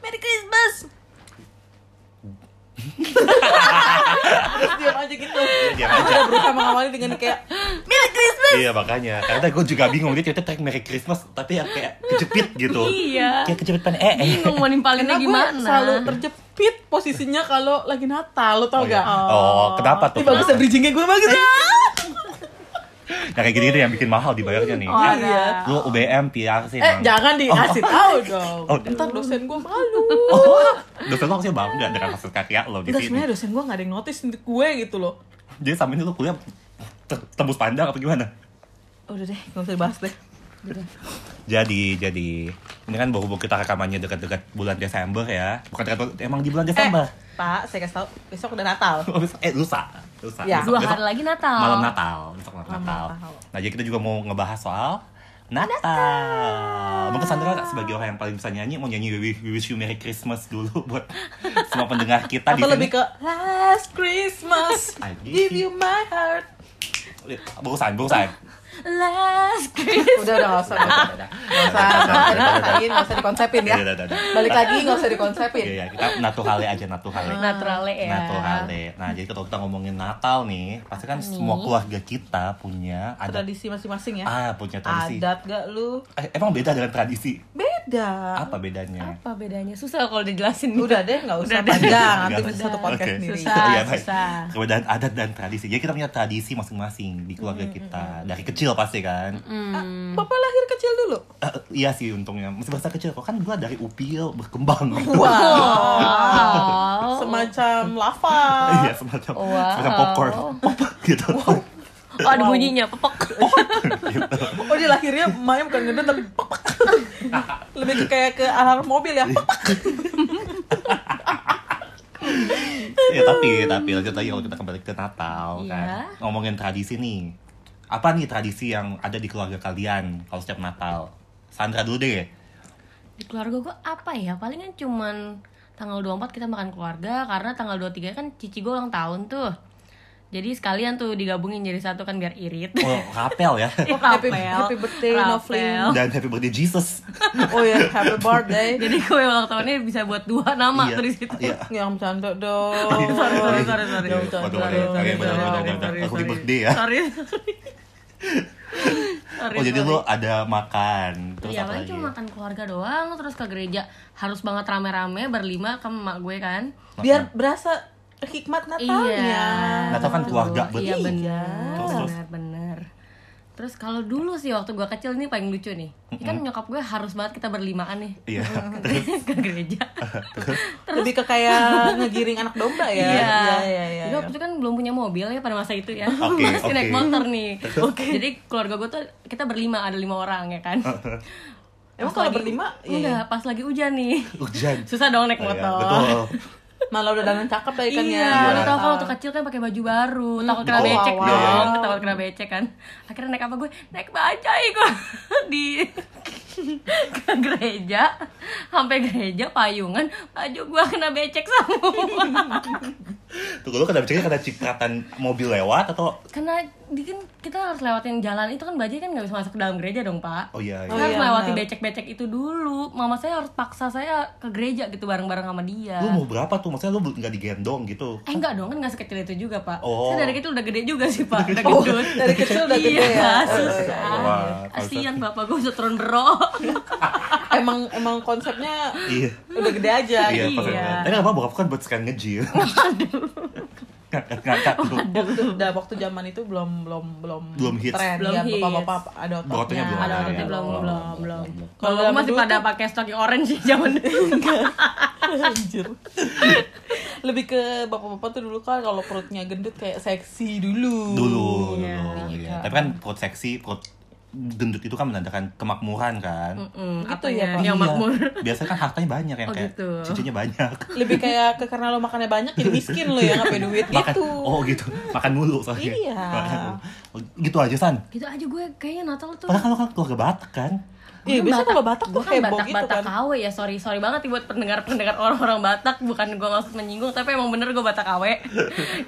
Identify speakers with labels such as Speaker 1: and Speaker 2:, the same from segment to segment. Speaker 1: Merry Christmas.
Speaker 2: Terus diam aja gitu.
Speaker 3: Diam
Speaker 2: Aku
Speaker 3: aja.
Speaker 2: udah berusaha mengawali dengan kayak
Speaker 1: Merry Christmas.
Speaker 3: Iya makanya, karena gue juga bingung dia tiba-tiba tag Merry Christmas tapi yang kayak kejepit gitu.
Speaker 4: Iya.
Speaker 3: Kayak kejepit pan eh. eh.
Speaker 4: bingung mau nimpalinnya
Speaker 2: karena gue
Speaker 4: gimana
Speaker 2: selalu terjepit posisinya kalau lagi Natal, lo tau
Speaker 3: Oh, iya.
Speaker 2: gak?
Speaker 3: oh, kenapa tuh?
Speaker 2: Ini bagus ya
Speaker 3: Kenapa?
Speaker 2: bridgingnya gue bagus ya.
Speaker 3: Nah kayak gini-gini yang bikin mahal dibayarnya nih.
Speaker 4: Oh,
Speaker 2: Iya.
Speaker 4: ada.
Speaker 3: Lu UBM PR sih.
Speaker 2: Eh
Speaker 3: Bang.
Speaker 2: jangan dikasih tahu dong.
Speaker 3: Oh,
Speaker 2: Ntar dosen gue malu.
Speaker 3: Oh, dosen lo harusnya bangga dengan hasil karya lo di
Speaker 2: Enggak
Speaker 3: sini.
Speaker 2: sebenarnya dosen gue gak ada yang notice gue gitu loh.
Speaker 3: Jadi sambil ini lo kuliah te- tembus pandang apa gimana?
Speaker 2: Udah deh, gak usah dibahas deh.
Speaker 3: Jadi, jadi ini kan baru kita rekamannya dekat-dekat bulan Desember ya. Bukan dekat emang di bulan Desember.
Speaker 2: Eh, Pak, saya kasih tahu besok udah Natal.
Speaker 3: Oh, besok- Eh, lusa, lusa.
Speaker 2: Ya.
Speaker 4: dua
Speaker 3: Besok- besok
Speaker 4: hari lagi Natal
Speaker 3: Malam Natal, besok malam
Speaker 2: Oh. Malam
Speaker 3: Natal.
Speaker 2: Natal.
Speaker 3: Nah, jadi kita juga mau ngebahas soal Natal. Mungkin Sandra sebagai orang yang paling bisa nyanyi mau nyanyi We We Wish You Merry Christmas dulu buat semua pendengar kita di
Speaker 2: Atau
Speaker 3: sini.
Speaker 2: lebih ke Last Christmas,
Speaker 3: kan ya? I
Speaker 2: give you my heart.
Speaker 3: Bagusan, bagusan.
Speaker 4: last
Speaker 2: Udah udah nggak usah, nggak usah, nggak usah, nggak usah dipaksain, nggak usah dikonsepin ya.
Speaker 3: Iya, Udah, udah, udah.
Speaker 2: Balik lagi nggak usah dikonsepin.
Speaker 3: Iya, iya, kita naturale aja
Speaker 2: Oh,
Speaker 3: naturale.
Speaker 4: naturale ya
Speaker 3: Naturale. Nah, jadi kalau kita ngomongin Natal nih, pasti kan semua keluarga kita punya iya. ada
Speaker 2: Tradisi masing-masing ya.
Speaker 3: ah punya tradisi.
Speaker 2: Adat gak lu?
Speaker 3: Eh, emang beda dengan tradisi?
Speaker 2: Beda.
Speaker 3: Apa bedanya?
Speaker 4: apa bedanya susah kalau dijelasin
Speaker 2: Udah deh, nggak
Speaker 4: Udah
Speaker 2: usah
Speaker 4: deh.
Speaker 2: panjang. Nanti
Speaker 3: Nggak
Speaker 2: bisa
Speaker 3: usah.
Speaker 2: satu podcast
Speaker 3: Oke.
Speaker 2: sendiri.
Speaker 4: Susah.
Speaker 3: Iya, baik.
Speaker 4: susah.
Speaker 3: Kemudian adat dan tradisi. Jadi kita punya tradisi masing-masing di keluarga kita. Dari kecil pasti kan.
Speaker 4: Hmm.
Speaker 2: Papa lahir kecil dulu.
Speaker 3: Eh, iya sih untungnya. Masih bahasa kecil kok kan gua dari upil berkembang gitu.
Speaker 2: Wow.
Speaker 4: wow Oh.
Speaker 2: Semacam lava.
Speaker 3: Iya semacam
Speaker 4: Wow.
Speaker 3: semacam popcorn. Pop gitu.
Speaker 4: oh ada bunyinya pepek
Speaker 3: Gitu.
Speaker 2: Oh dia lahirnya emaknya bukan gendut tapi pek, pek. Lebih ke kayak ke alarm mobil ya.
Speaker 3: Iya.
Speaker 2: Pek, pek.
Speaker 3: ya tapi tapi lanjut lagi kalau kita kembali ke Natal kan
Speaker 4: Iya.
Speaker 3: ngomongin tradisi nih apa nih tradisi yang ada di keluarga kalian kalau setiap Natal Sandra dulu deh
Speaker 4: di keluarga gue apa ya palingan cuman tanggal 24 kita makan keluarga karena tanggal 23 kan cici gue ulang tahun tuh jadi sekalian tuh digabungin jadi satu kan biar irit
Speaker 3: oh rapel ya
Speaker 4: Oh,
Speaker 2: happy,
Speaker 4: rapel.
Speaker 2: happy birthday
Speaker 4: Rapel.
Speaker 2: Novlin.
Speaker 3: dan happy birthday Jesus
Speaker 2: Oh ya, happy birthday.
Speaker 4: jadi kue ulang tahunnya bisa buat dua nama
Speaker 3: Iya,
Speaker 4: tuh di situ
Speaker 3: iya.
Speaker 2: Yang bercanda dong.
Speaker 4: Sorry, sorry, sorry, sorry.
Speaker 2: Yang bercanda
Speaker 3: Waduh, waduh,
Speaker 2: dong.
Speaker 3: oke,
Speaker 2: Yang
Speaker 3: benar, benar, benar.
Speaker 2: bercanda.
Speaker 3: Aku di birthday ya.
Speaker 4: Sorry, sorry. Sorry,
Speaker 3: oh jadi
Speaker 4: sorry.
Speaker 3: lu ada makan terus
Speaker 4: Iya
Speaker 3: apa
Speaker 4: kan
Speaker 3: lagi
Speaker 4: cuma makan keluarga doang terus ke gereja harus banget rame-rame berlima ke emak gue kan
Speaker 2: Biar berasa hikmat
Speaker 4: Iya.
Speaker 2: Natalnya.
Speaker 3: Natal kan
Speaker 4: Betul.
Speaker 3: keluarga,
Speaker 4: ya. Iya
Speaker 3: betul.
Speaker 4: benar.
Speaker 3: Terus, terus.
Speaker 4: Benar benar. Terus kalau dulu sih waktu gua kecil nih paling lucu nih. Ini Kan nyokap gue harus banget kita berlimaan nih
Speaker 3: iya
Speaker 4: ke gereja.
Speaker 2: Lebih ke kayak ngegiring anak domba ya. Iya, iya, iya.
Speaker 4: Jadi waktu itu kan belum punya mobil ya pada masa itu ya.
Speaker 3: Oke,
Speaker 4: Masih
Speaker 3: oke.
Speaker 4: naik motor nih. Jadi keluarga gue tuh kita berlima ada lima orang ya kan.
Speaker 2: Emang
Speaker 4: Pas
Speaker 2: kalau
Speaker 4: lagi-
Speaker 2: berlima,
Speaker 4: Enggak,
Speaker 2: iya.
Speaker 4: pas lagi hujan nih.
Speaker 3: hujan
Speaker 4: Susah dong naik
Speaker 3: Oh, iya,
Speaker 4: motor.
Speaker 3: betul
Speaker 2: Malah udah danan cakep ya ikannya.
Speaker 4: iya, udah tau kalau waktu kecil kan pakai baju baru,
Speaker 2: Hmm.
Speaker 4: takut kena
Speaker 3: Oh,
Speaker 4: becek
Speaker 3: wow.
Speaker 4: dong,
Speaker 2: Iya.
Speaker 4: takut kena becek kan. Akhirnya naik apa gue? Naik bajai gue di ke gereja, sampai gereja payungan, baju gue kena becek semua.
Speaker 3: tuh lu kena bicara kena cipratan mobil lewat atau
Speaker 4: Karena di- kan kita harus lewatin jalan itu kan bajai kan nggak bisa masuk ke dalam gereja dong pak.
Speaker 3: oh iya,
Speaker 4: Kita
Speaker 2: Oh,
Speaker 3: iya.
Speaker 4: harus
Speaker 2: iya,
Speaker 4: melewati
Speaker 2: benar.
Speaker 4: becek-becek itu dulu. Mama saya harus paksa saya ke gereja gitu bareng-bareng sama dia.
Speaker 2: Oh,
Speaker 3: lu mau berapa tuh maksudnya lu nggak digendong gitu
Speaker 4: Eh enggak dong, kan gak sekecil itu juga pak
Speaker 3: Oh.
Speaker 4: Saya dari kecil udah gede juga sih pak Udah
Speaker 2: Oh,
Speaker 4: gendut
Speaker 2: dari kecil udah gede
Speaker 4: Iya,
Speaker 2: ya?
Speaker 4: susah
Speaker 3: Wah,
Speaker 4: Kasian bapak gue udah turun bro
Speaker 2: Emang emang konsepnya
Speaker 3: iya
Speaker 2: udah gede aja.
Speaker 3: iya, pas-
Speaker 4: Iya.
Speaker 3: tapi nggak apa-apa bukan buat sekarang ngejil ngangkat-ngangkat tuh
Speaker 2: waktu udah waktu zaman itu belum belum belum
Speaker 3: Belum hits.
Speaker 2: tren
Speaker 4: Belum
Speaker 2: ya
Speaker 4: hits.
Speaker 2: bapak-bapak ada ototnya,
Speaker 3: Botolnya belum
Speaker 4: Ada
Speaker 3: ada,
Speaker 4: waktu
Speaker 3: ya.
Speaker 4: itu belum,
Speaker 3: Belum,
Speaker 4: belum,
Speaker 3: belum,
Speaker 4: belum
Speaker 3: belum.
Speaker 4: Kalau gue
Speaker 2: Kalau
Speaker 4: masih
Speaker 2: dulu
Speaker 4: pada pakai stocking orange sih zaman dulu
Speaker 2: Anjir. lebih ke bapak-bapak tuh dulu kan kalau perutnya gendut kayak seksi dulu
Speaker 3: dulu
Speaker 4: Iya.
Speaker 3: dulu iya. tapi kan perut seksi perut gendut itu kan menandakan kemakmuran kan
Speaker 4: Hmm,
Speaker 2: Gitu
Speaker 4: apanya?
Speaker 2: ya, Pak?
Speaker 4: Yang
Speaker 3: Iya.
Speaker 4: makmur
Speaker 3: biasanya kan hartanya banyak yang
Speaker 4: Oh,
Speaker 3: kayak
Speaker 4: gitu.
Speaker 3: cucunya banyak
Speaker 2: lebih kayak ke karena lo makannya banyak jadi miskin lo ya nggak punya duit
Speaker 3: makan
Speaker 2: gitu
Speaker 3: oh gitu makan mulu soalnya
Speaker 2: Iya.
Speaker 3: Makan mulu. gitu aja san
Speaker 4: Gitu aja gue kayaknya Natal tuh
Speaker 3: padahal kalau kan keluarga Batak kan
Speaker 4: Gua
Speaker 2: Iya,
Speaker 4: kan
Speaker 2: biasanya kalau Batak
Speaker 4: gua
Speaker 2: tuh
Speaker 4: kan
Speaker 2: heboh
Speaker 4: Batak,
Speaker 2: gitu
Speaker 4: Batak
Speaker 2: kan.
Speaker 4: KW ya, sorry sorry banget nih buat pendengar-pendengar orang-orang Batak, bukan gue maksud menyinggung, tapi emang bener gue Batak KW.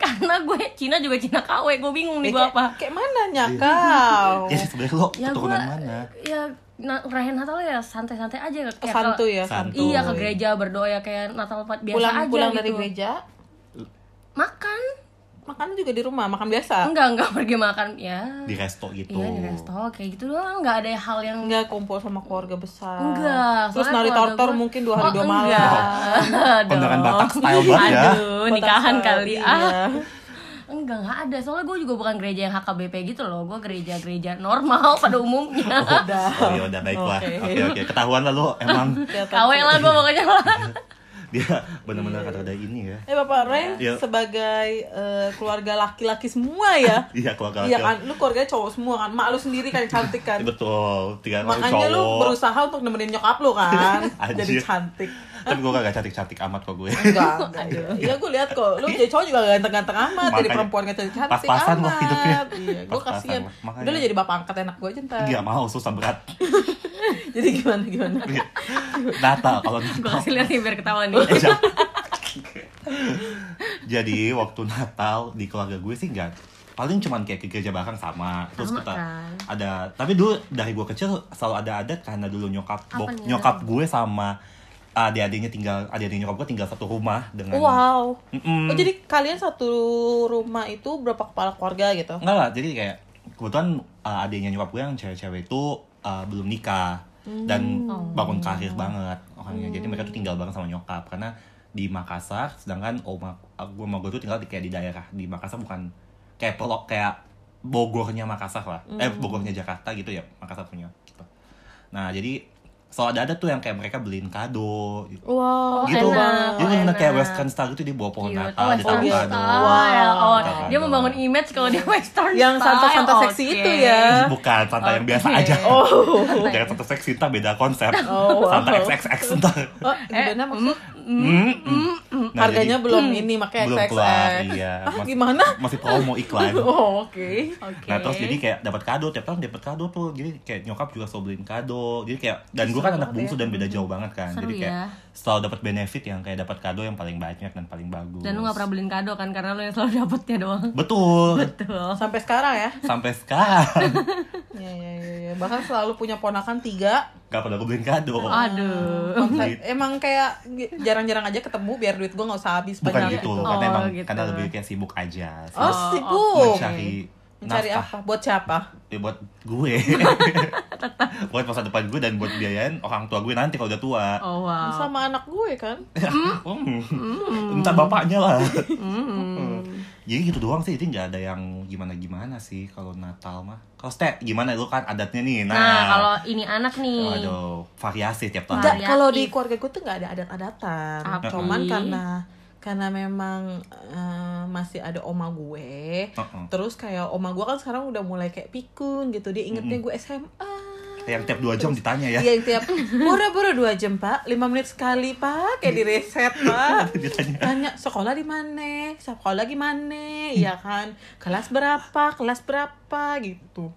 Speaker 4: Karena gue Cina juga Cina KW, gue bingung nih gue
Speaker 2: kayak,
Speaker 4: apa.
Speaker 2: Kayak mana nyakal?
Speaker 3: Jadi sebenarnya lo
Speaker 4: Ya gue,
Speaker 3: keturunan mana?
Speaker 4: ya na- ngerayain Natal ya santai-santai aja. Kayak
Speaker 2: Oh,
Speaker 4: kalau-
Speaker 2: santuy ya,
Speaker 3: Santuy.
Speaker 2: santuy.
Speaker 4: Iya ke gereja berdoa ya kayak Natal biasa
Speaker 2: Pulang
Speaker 4: aja
Speaker 2: pulang
Speaker 4: gitu.
Speaker 2: dari gereja,
Speaker 4: Makan?
Speaker 2: makan juga di rumah, makan biasa.
Speaker 4: Enggak enggak pergi makan ya.
Speaker 3: Di resto gitu.
Speaker 4: Iya di resto kayak gitu doang nggak ada hal yang
Speaker 2: Enggak kumpul sama keluarga besar.
Speaker 4: Enggak,
Speaker 2: Terus
Speaker 4: soalnya
Speaker 2: nari
Speaker 4: keluarga
Speaker 2: tortor
Speaker 4: gua-
Speaker 2: mungkin dua hari
Speaker 4: Oh,
Speaker 2: dua malam.
Speaker 4: enggak. Dong.
Speaker 3: Kondangan Batak style banget ya.
Speaker 4: Aduh, nikahan
Speaker 2: Batak
Speaker 4: kali
Speaker 2: style,
Speaker 4: ah.
Speaker 2: iya.
Speaker 4: Enggak, enggak ada. Soalnya gue juga bukan gereja yang HKBP gitu loh. Gue gereja-gereja normal pada umumnya.
Speaker 2: Udah.
Speaker 3: Oh iya udah baiklah.
Speaker 2: Oke.
Speaker 3: Oke oke ketahuan lah lo emang
Speaker 2: Kelihatan
Speaker 4: KW lah gue pokoknya lah.
Speaker 3: dia benar-benar kata ada ini ya.
Speaker 2: Eh Bapak Ren
Speaker 3: Iya.
Speaker 2: sebagai eh, keluarga laki-laki semua ya.
Speaker 3: Iya keluarga
Speaker 2: Iya
Speaker 3: laki-laki.
Speaker 2: kan, lu keluarganya cowok semua kan, mak lu sendiri kan yang cantik kan.
Speaker 3: Betul, tiga orang
Speaker 2: Makanya lu
Speaker 3: cowok.
Speaker 2: berusaha untuk nemenin nyokap lu kan,
Speaker 3: Anjir.
Speaker 2: jadi cantik.
Speaker 3: Tapi gue kagak cantik-cantik amat kok gue.
Speaker 2: Enggak, enggak. Iya gue lihat kok, lu jadi cowok juga gak ganteng-ganteng amat, jadi
Speaker 3: Makanya-
Speaker 2: perempuan gak cantik-cantik
Speaker 3: Pas-pasan lah
Speaker 2: amat.
Speaker 3: hidupnya.
Speaker 2: Iya, gue
Speaker 3: Pas-pasan
Speaker 2: kasihan.
Speaker 3: lah, makanya. Iya.
Speaker 2: Udah lu jadi bapak angkat anak gue aja ntar.
Speaker 3: Gak mau susah berat. Iya.
Speaker 2: Jadi gimana gimana?
Speaker 3: Natal kalau
Speaker 4: Gue
Speaker 3: Natal.
Speaker 4: kasih lihat nih biar ketawa nih.
Speaker 3: Eh, siap. Jadi waktu Natal di keluarga gue sih nggak paling cuman kayak ke gereja bareng sama terus
Speaker 4: Sama
Speaker 3: kita
Speaker 4: kan?
Speaker 3: ada tapi dulu dari gue kecil selalu ada adat karena dulu nyokap
Speaker 4: Apa
Speaker 3: bok-
Speaker 4: nih
Speaker 3: nyokap gue sama adik-adiknya tinggal adik-adik nyokap gue tinggal satu rumah dengan
Speaker 2: Wow.
Speaker 3: Mm-mm.
Speaker 2: Oh, jadi kalian satu rumah itu berapa kepala keluarga gitu?
Speaker 3: Enggak lah, jadi kayak kebetulan uh, adiknya nyokap gue yang cewek-cewek itu uh, belum nikah
Speaker 4: Hmm.
Speaker 3: dan
Speaker 2: Hmm.
Speaker 3: bangun karir banget orangnya. Jadi mereka tuh tinggal bareng sama nyokap karena di Makassar, sedangkan oma uh, gue sama gue tuh tinggal di, kayak di daerah di Makassar bukan kayak pelok kayak Bogornya Makassar lah, eh
Speaker 4: Hmm.
Speaker 3: Bogornya Jakarta gitu ya Makassar punya. Gitu. Nah jadi soal ada tuh yang kayak mereka beliin kado gitu.
Speaker 4: Oh,
Speaker 2: Wow,
Speaker 3: gitu.
Speaker 4: enak,
Speaker 3: Jadi bener-bener kayak
Speaker 4: enak.
Speaker 3: Western style gitu dia bawa pohon
Speaker 4: Cute.
Speaker 3: Natal,
Speaker 4: oh,
Speaker 3: ditaruh
Speaker 4: Western
Speaker 2: Western
Speaker 3: kado.
Speaker 4: style. Oh,
Speaker 3: Taruh
Speaker 4: dia
Speaker 3: kado.
Speaker 4: membangun image kalau dia Western
Speaker 2: Yang
Speaker 4: style.
Speaker 2: santai-santai seksi
Speaker 4: Oke.
Speaker 2: itu ya.
Speaker 3: Bukan, santai yang biasa
Speaker 4: Oke.
Speaker 3: aja.
Speaker 2: Oh.
Speaker 3: Jangan satu seks cinta beda konsep.
Speaker 2: Oh, wow.
Speaker 3: Santai XXX ntar.
Speaker 2: Oh,
Speaker 4: Eh,
Speaker 2: gimana maksudnya?
Speaker 3: Hmm,
Speaker 4: mm,
Speaker 3: hmm. Nah, jadi
Speaker 2: Harganya belum ini makanya
Speaker 3: belum
Speaker 2: XXX.
Speaker 3: keluar, iya.
Speaker 2: Ah,
Speaker 3: Masih-
Speaker 2: gimana?
Speaker 3: Masih promo iklan.
Speaker 2: Oh, oke.
Speaker 4: Oke.
Speaker 3: Nah terus jadi kayak dapat kado tiap tahun dapat kado tuh jadi kayak nyokap juga selalu beliin kado jadi kayak dan gue kan anak bungsu dan beda jauh banget kan
Speaker 4: Seru
Speaker 3: jadi kayak
Speaker 4: ya.
Speaker 3: selalu dapat benefit yang kayak dapat kado yang paling banyak dan paling bagus
Speaker 4: Dan lu gak pernah beliin kado kan karena lu yang selalu dapetnya doang.
Speaker 3: betul
Speaker 4: Betul.
Speaker 2: Sampai sekarang ya.
Speaker 3: sampai sekarang
Speaker 2: Iya, iya, iya, iya. Bahkan selalu punya ponakan tiga.
Speaker 3: gak pernah gue beliin kado
Speaker 4: Aduh.
Speaker 2: Konsep-
Speaker 3: Gitu.
Speaker 2: emang kayak gi- jarang-jarang aja ketemu biar duit gue nggak usah habis
Speaker 3: bukan
Speaker 2: banyak
Speaker 3: gitu
Speaker 4: gitu.
Speaker 3: karena
Speaker 4: Oh,
Speaker 3: emang
Speaker 4: gitu.
Speaker 3: karena lebih kayak sibuk aja
Speaker 2: Oh,
Speaker 3: sibuk
Speaker 2: sibuk.
Speaker 3: mencari
Speaker 2: Mencari
Speaker 3: nafkah.
Speaker 2: apa? Buat siapa?
Speaker 3: ya buat gue buat masa depan gue dan buat biayain orang tua gue nanti kalau udah tua
Speaker 4: Oh wow.
Speaker 2: Sama anak gue kan.
Speaker 3: Hmm. entah bapaknya lah jadi gitu doang sih jadi nggak ada yang gimana gimana sih kalau Natal mah kalau stek gimana lu kan adatnya nih nah,
Speaker 4: Nah, kalau ini anak nih.
Speaker 3: Waduh, variasi tiap tahun
Speaker 2: Enggak,
Speaker 4: Variatif.
Speaker 2: kalau di keluarga gue tuh nggak ada adat-adatan.
Speaker 4: Tapi-
Speaker 2: Cuman karena karena memang eh, masih ada oma gue.
Speaker 3: Uh-uh.
Speaker 2: Terus kayak oma gue kan sekarang udah mulai kayak pikun gitu. Dia ingetnya gue SMA.
Speaker 3: yang tiap dua jam ditanya ya
Speaker 2: Iya yang tiap buru-buru dua jam pak, lima menit sekali pak, kayak di reset pak.
Speaker 3: ditanya
Speaker 2: Tanya sekolah di mana, sekolah di mana, iya kan, kelas berapa, kelas berapa gitu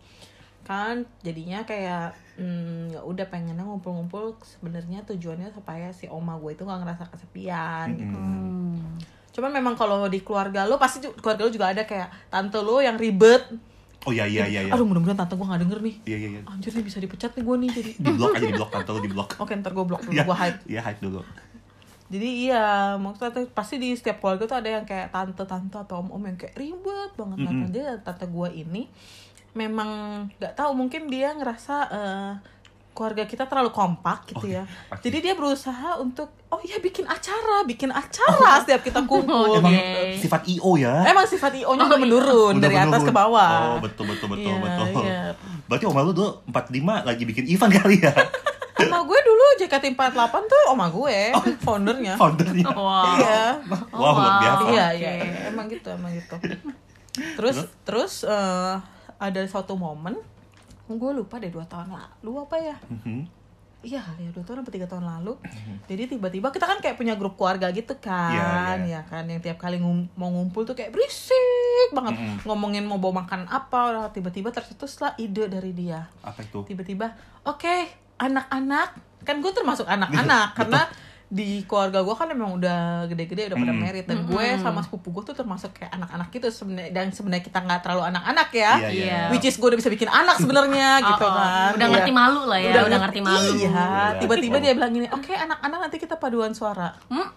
Speaker 2: kan jadinya kayak hmm, ya udah pengennya ngumpul-ngumpul sebenarnya tujuannya supaya si oma gue itu nggak ngerasa kesepian gitu.
Speaker 4: Hmm.
Speaker 2: Cuman memang kalau di keluarga lo pasti ju- keluarga lo juga ada kayak tante lo yang ribet.
Speaker 3: oh iya iya iya iya
Speaker 2: Aduh mudah-mudahan tante gue nggak denger nih.
Speaker 3: iya iya iya.
Speaker 2: Anjir nih bisa dipecat nih gue nih jadi.
Speaker 3: di blok aja di blok atau di blok
Speaker 2: Oke ntar gue blok dulu,
Speaker 3: ya
Speaker 2: gue hide.
Speaker 3: ya hide dulu
Speaker 2: Jadi iya, maksudnya tuh pasti di setiap keluarga tuh ada yang kayak tante-tante atau om-om yang kayak ribet banget nah,
Speaker 3: Mm-mm.
Speaker 2: Jadi tante gue ini memang nggak tahu mungkin dia ngerasa eh, keluarga kita terlalu kompak gitu
Speaker 3: Oke,
Speaker 2: ya.
Speaker 3: Oh, iya, pasti.
Speaker 2: Jadi dia berusaha untuk oh iya bikin acara, bikin acara setiap kita kumpul.
Speaker 3: emang
Speaker 2: Emang,
Speaker 4: Oke.
Speaker 3: sifat io ya
Speaker 2: sifat
Speaker 4: iya. Oh,
Speaker 2: IO-nya udah
Speaker 4: iya.
Speaker 2: menurun
Speaker 3: Udah
Speaker 2: Eh, dari atas
Speaker 3: menurun.
Speaker 2: ke bawah.
Speaker 3: Oh, betul betul betul
Speaker 2: Iya,
Speaker 3: betul.
Speaker 2: iya.
Speaker 3: Berarti Oma lu tuh 45 lagi bikin event kali ya.
Speaker 2: Oma gue dulu JKT48 tuh oma gue,
Speaker 3: Oh.
Speaker 2: foundernya.
Speaker 3: Foundernya.
Speaker 4: Oh, Wow.
Speaker 2: Iya.
Speaker 3: Wah, luar biasa.
Speaker 2: Iya,
Speaker 4: Oke.
Speaker 2: iya, iya. emang gitu, emang gitu. Terus terus eh, ada suatu momen gue lupa deh dua tahun lalu apa ya?
Speaker 3: Mhm.
Speaker 2: Iya, kali ya dua tahun atau tiga tahun lalu. Jadi tiba-tiba kita kan kayak punya grup keluarga gitu kan,
Speaker 3: Iya,
Speaker 2: ya kan, yang tiap kali ngum- mau ngumpul tuh kayak berisik banget
Speaker 3: Mm-mm.
Speaker 2: ngomongin mau bawa makan apa, tiba-tiba tercetuslah ide dari dia
Speaker 3: Apa itu?
Speaker 2: tiba-tiba oke anak-anak kan gue termasuk anak-anak karena di keluarga gue kan emang udah gede-gede udah pada
Speaker 4: Hmm.
Speaker 3: Mm.
Speaker 2: merit dan gue sama sepupu gue tuh termasuk kayak anak-anak gitu sebenarnya dan sebenarnya kita nggak terlalu anak-anak ya
Speaker 4: Iya.
Speaker 2: which is gue udah bisa bikin anak sebenarnya gitu
Speaker 4: Oh, oh.
Speaker 2: kan
Speaker 4: Udah
Speaker 2: Iya.
Speaker 4: ngerti malu lah ya, udah, ngerti malu.
Speaker 2: iya
Speaker 3: Iya.
Speaker 2: tiba-tiba dia bilang gini oke anak-anak nanti kita paduan suara
Speaker 4: Hmm?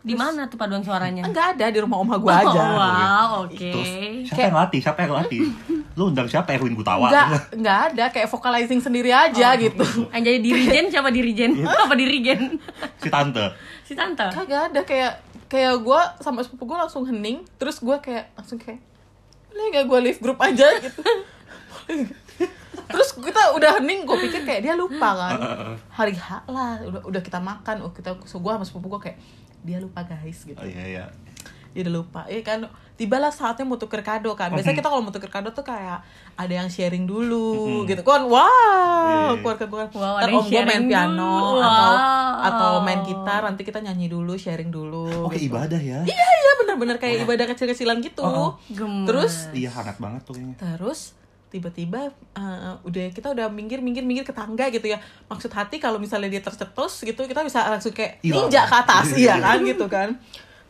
Speaker 4: Di mana tuh paduan suaranya?
Speaker 2: enggak ada di rumah oma gue aja Gitu.
Speaker 4: Oh, wow, oke.
Speaker 3: Terus siapa yang latih? Siapa yang latih? Lu undang siapa Erwin Gutawa?
Speaker 2: enggak enggak ada kayak vocalizing sendiri aja gitu
Speaker 4: Ah, jadi dirijen siapa dirijen? Apa dirigen?
Speaker 3: si tante.
Speaker 4: Si tante.
Speaker 2: kagak ada kayak kayak gue sama sepupu gue langsung hening terus gue kayak langsung kayak boleh gak gue leave grup aja gitu Boleh nggak? terus kita udah hening gue pikir kayak dia lupa kan hari H lah udah udah kita makan oh kita so gue sama sepupu gue kayak dia lupa guys gitu
Speaker 3: Oh iya iya.
Speaker 2: dia udah lupa ya kan tibalah saatnya mau tuker kado
Speaker 3: Oh,
Speaker 2: kan biasanya
Speaker 3: hmm.
Speaker 2: kita kalau mau tuker kado tuh kayak ada yang sharing dulu gitu kan wow
Speaker 3: Hmm. Iya.
Speaker 2: keluarga gue
Speaker 4: Wow,
Speaker 2: ntar
Speaker 4: ada yang
Speaker 2: om gue main
Speaker 4: sharing
Speaker 2: piano
Speaker 4: dulu.
Speaker 2: atau
Speaker 4: Wow.
Speaker 2: atau main gitar nanti kita nyanyi dulu sharing dulu
Speaker 3: Oke ibadah ya.
Speaker 2: iya iya bener-bener kayak ibadah kecil-kecilan gitu
Speaker 3: Oh, oh.
Speaker 4: Gemes.
Speaker 2: terus
Speaker 3: Iya hangat banget tuh kayaknya.
Speaker 2: terus tiba-tiba eh, udah kita udah minggir minggir minggir ke tangga gitu ya maksud hati kalau misalnya dia tercetus gitu kita bisa langsung kayak
Speaker 3: Hilang.
Speaker 2: injak ke atas
Speaker 3: Iya.
Speaker 2: iya kan gitu kan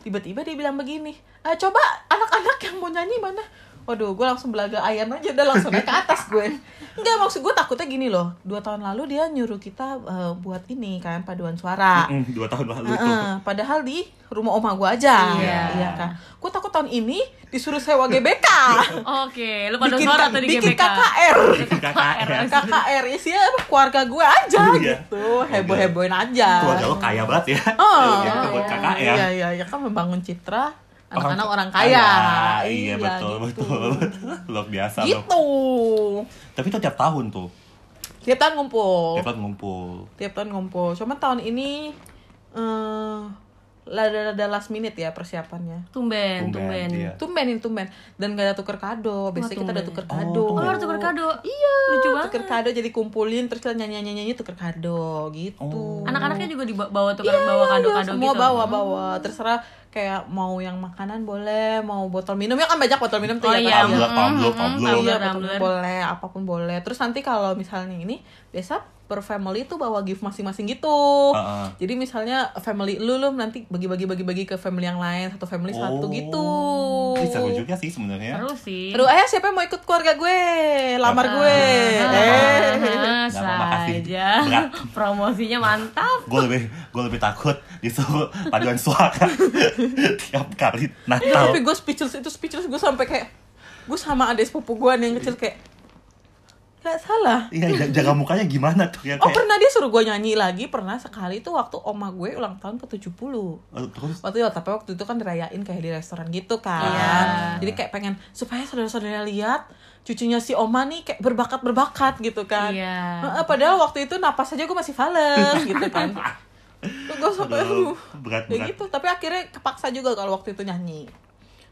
Speaker 2: tiba-tiba dia bilang begini "Eh, coba anak-anak yang mau nyanyi mana waduh gue langsung belaga ayam aja udah langsung naik ke atas gue Enggak maksud gue takutnya gini loh dua tahun lalu dia nyuruh kita eh, buat ini kan paduan suara
Speaker 3: Mm, dua tahun lalu tuh.
Speaker 2: Heeh, padahal di rumah oma gue aja
Speaker 4: Iya.
Speaker 2: iya kan gue takut tahun ini disuruh sewa GBK
Speaker 4: Oke, lu paduan suara
Speaker 2: ka-
Speaker 4: tadi
Speaker 2: bikin
Speaker 4: GBK.
Speaker 2: KKR
Speaker 3: KKR.
Speaker 2: KKR isinya apa keluarga gue aja
Speaker 3: Iya.
Speaker 2: gitu heboh hebohin aja
Speaker 3: Keluarga lo kaya banget ya.
Speaker 2: Oh,
Speaker 3: Iya,
Speaker 2: iya.
Speaker 3: buat KKR.
Speaker 2: iya iya ya kan membangun citra anak-anak orang
Speaker 3: kaya.
Speaker 2: kaya
Speaker 3: Iya, betul,
Speaker 2: gitu.
Speaker 3: betul, betul. Luar biasa loh.
Speaker 2: gitu
Speaker 3: Tapi itu tiap tahun tuh.
Speaker 2: tiap tahun ngumpul
Speaker 3: Tiap tahun ngumpul.
Speaker 2: tiap tahun ngumpul cuma tahun ini eh ada last minute ya persiapannya
Speaker 4: Tumben, tumben.
Speaker 3: iya.
Speaker 2: tumben ini tumben dan gak ada tuker kado biasanya kita ada
Speaker 4: tumben.
Speaker 3: Oh,
Speaker 2: tuker kado
Speaker 4: Oh,
Speaker 3: tumben.
Speaker 4: lu tuker kado.
Speaker 2: Iya,
Speaker 4: Lucu
Speaker 2: tuker
Speaker 4: banget.
Speaker 2: kado jadi kumpulin terus kita nyanyi nyanyi nyanyi tuker kado gitu.
Speaker 3: Oh.
Speaker 4: Anak-anaknya juga dibawa tuker Iya, bawa kado-kado
Speaker 2: Iya, semua
Speaker 4: gitu.
Speaker 2: bawa bawa Oh. terserah kayak mau yang makanan boleh, mau botol minum ya kan banyak botol minum tuh
Speaker 4: Oh
Speaker 2: ya.
Speaker 4: iya,
Speaker 2: kan?
Speaker 3: Tumbler,
Speaker 4: mm,
Speaker 3: tumbler,
Speaker 4: mm,
Speaker 3: tumbler.
Speaker 2: Iya,
Speaker 4: tumbler,
Speaker 2: botol minum
Speaker 4: tumbler.
Speaker 2: boleh, apapun boleh. Terus nanti kalau misalnya ini biasa per family tuh bawa gift masing-masing gitu.
Speaker 3: Heeh.
Speaker 2: Jadi misalnya family lu lu nanti bagi-bagi bagi-bagi ke family yang lain, satu family
Speaker 3: Oh.
Speaker 2: satu gitu.
Speaker 3: Ih, seru juga sih sebenarnya.
Speaker 4: Terus sih.
Speaker 2: Aduh, ayah siapa yang mau ikut keluarga gue? Lamar gue. Eh.
Speaker 4: Ah,
Speaker 3: Nggak apa-apa, makasih.
Speaker 4: saja.
Speaker 3: Berat.
Speaker 4: Promosinya mantap.
Speaker 3: Gue lebih gue lebih takut disuruh paduan suara tiap kali Natal.
Speaker 2: tapi gue speechless itu speechless gue sampai kayak gue sama adik sepupu gue yang kecil kayak nggak salah
Speaker 3: Iya, j- jaga mukanya gimana tuh
Speaker 4: Iya,
Speaker 3: ya?
Speaker 2: oh pernah dia suruh gue nyanyi lagi pernah sekali itu waktu oma gue ulang tahun ke 70
Speaker 3: Eh, Terus
Speaker 2: waktu itu tapi waktu itu kan dirayain kayak di restoran gitu kan
Speaker 4: Iya.
Speaker 2: jadi kayak pengen supaya saudara-saudara lihat cucunya si oma nih kayak berbakat berbakat gitu kan
Speaker 4: Iya.
Speaker 2: Heeh, padahal waktu itu napas aja gue masih fales gitu kan gue Oh, sampai
Speaker 3: Aduh,
Speaker 2: aduh
Speaker 3: berat,
Speaker 2: ya
Speaker 3: berat.
Speaker 2: gitu tapi akhirnya kepaksa juga kalau waktu itu nyanyi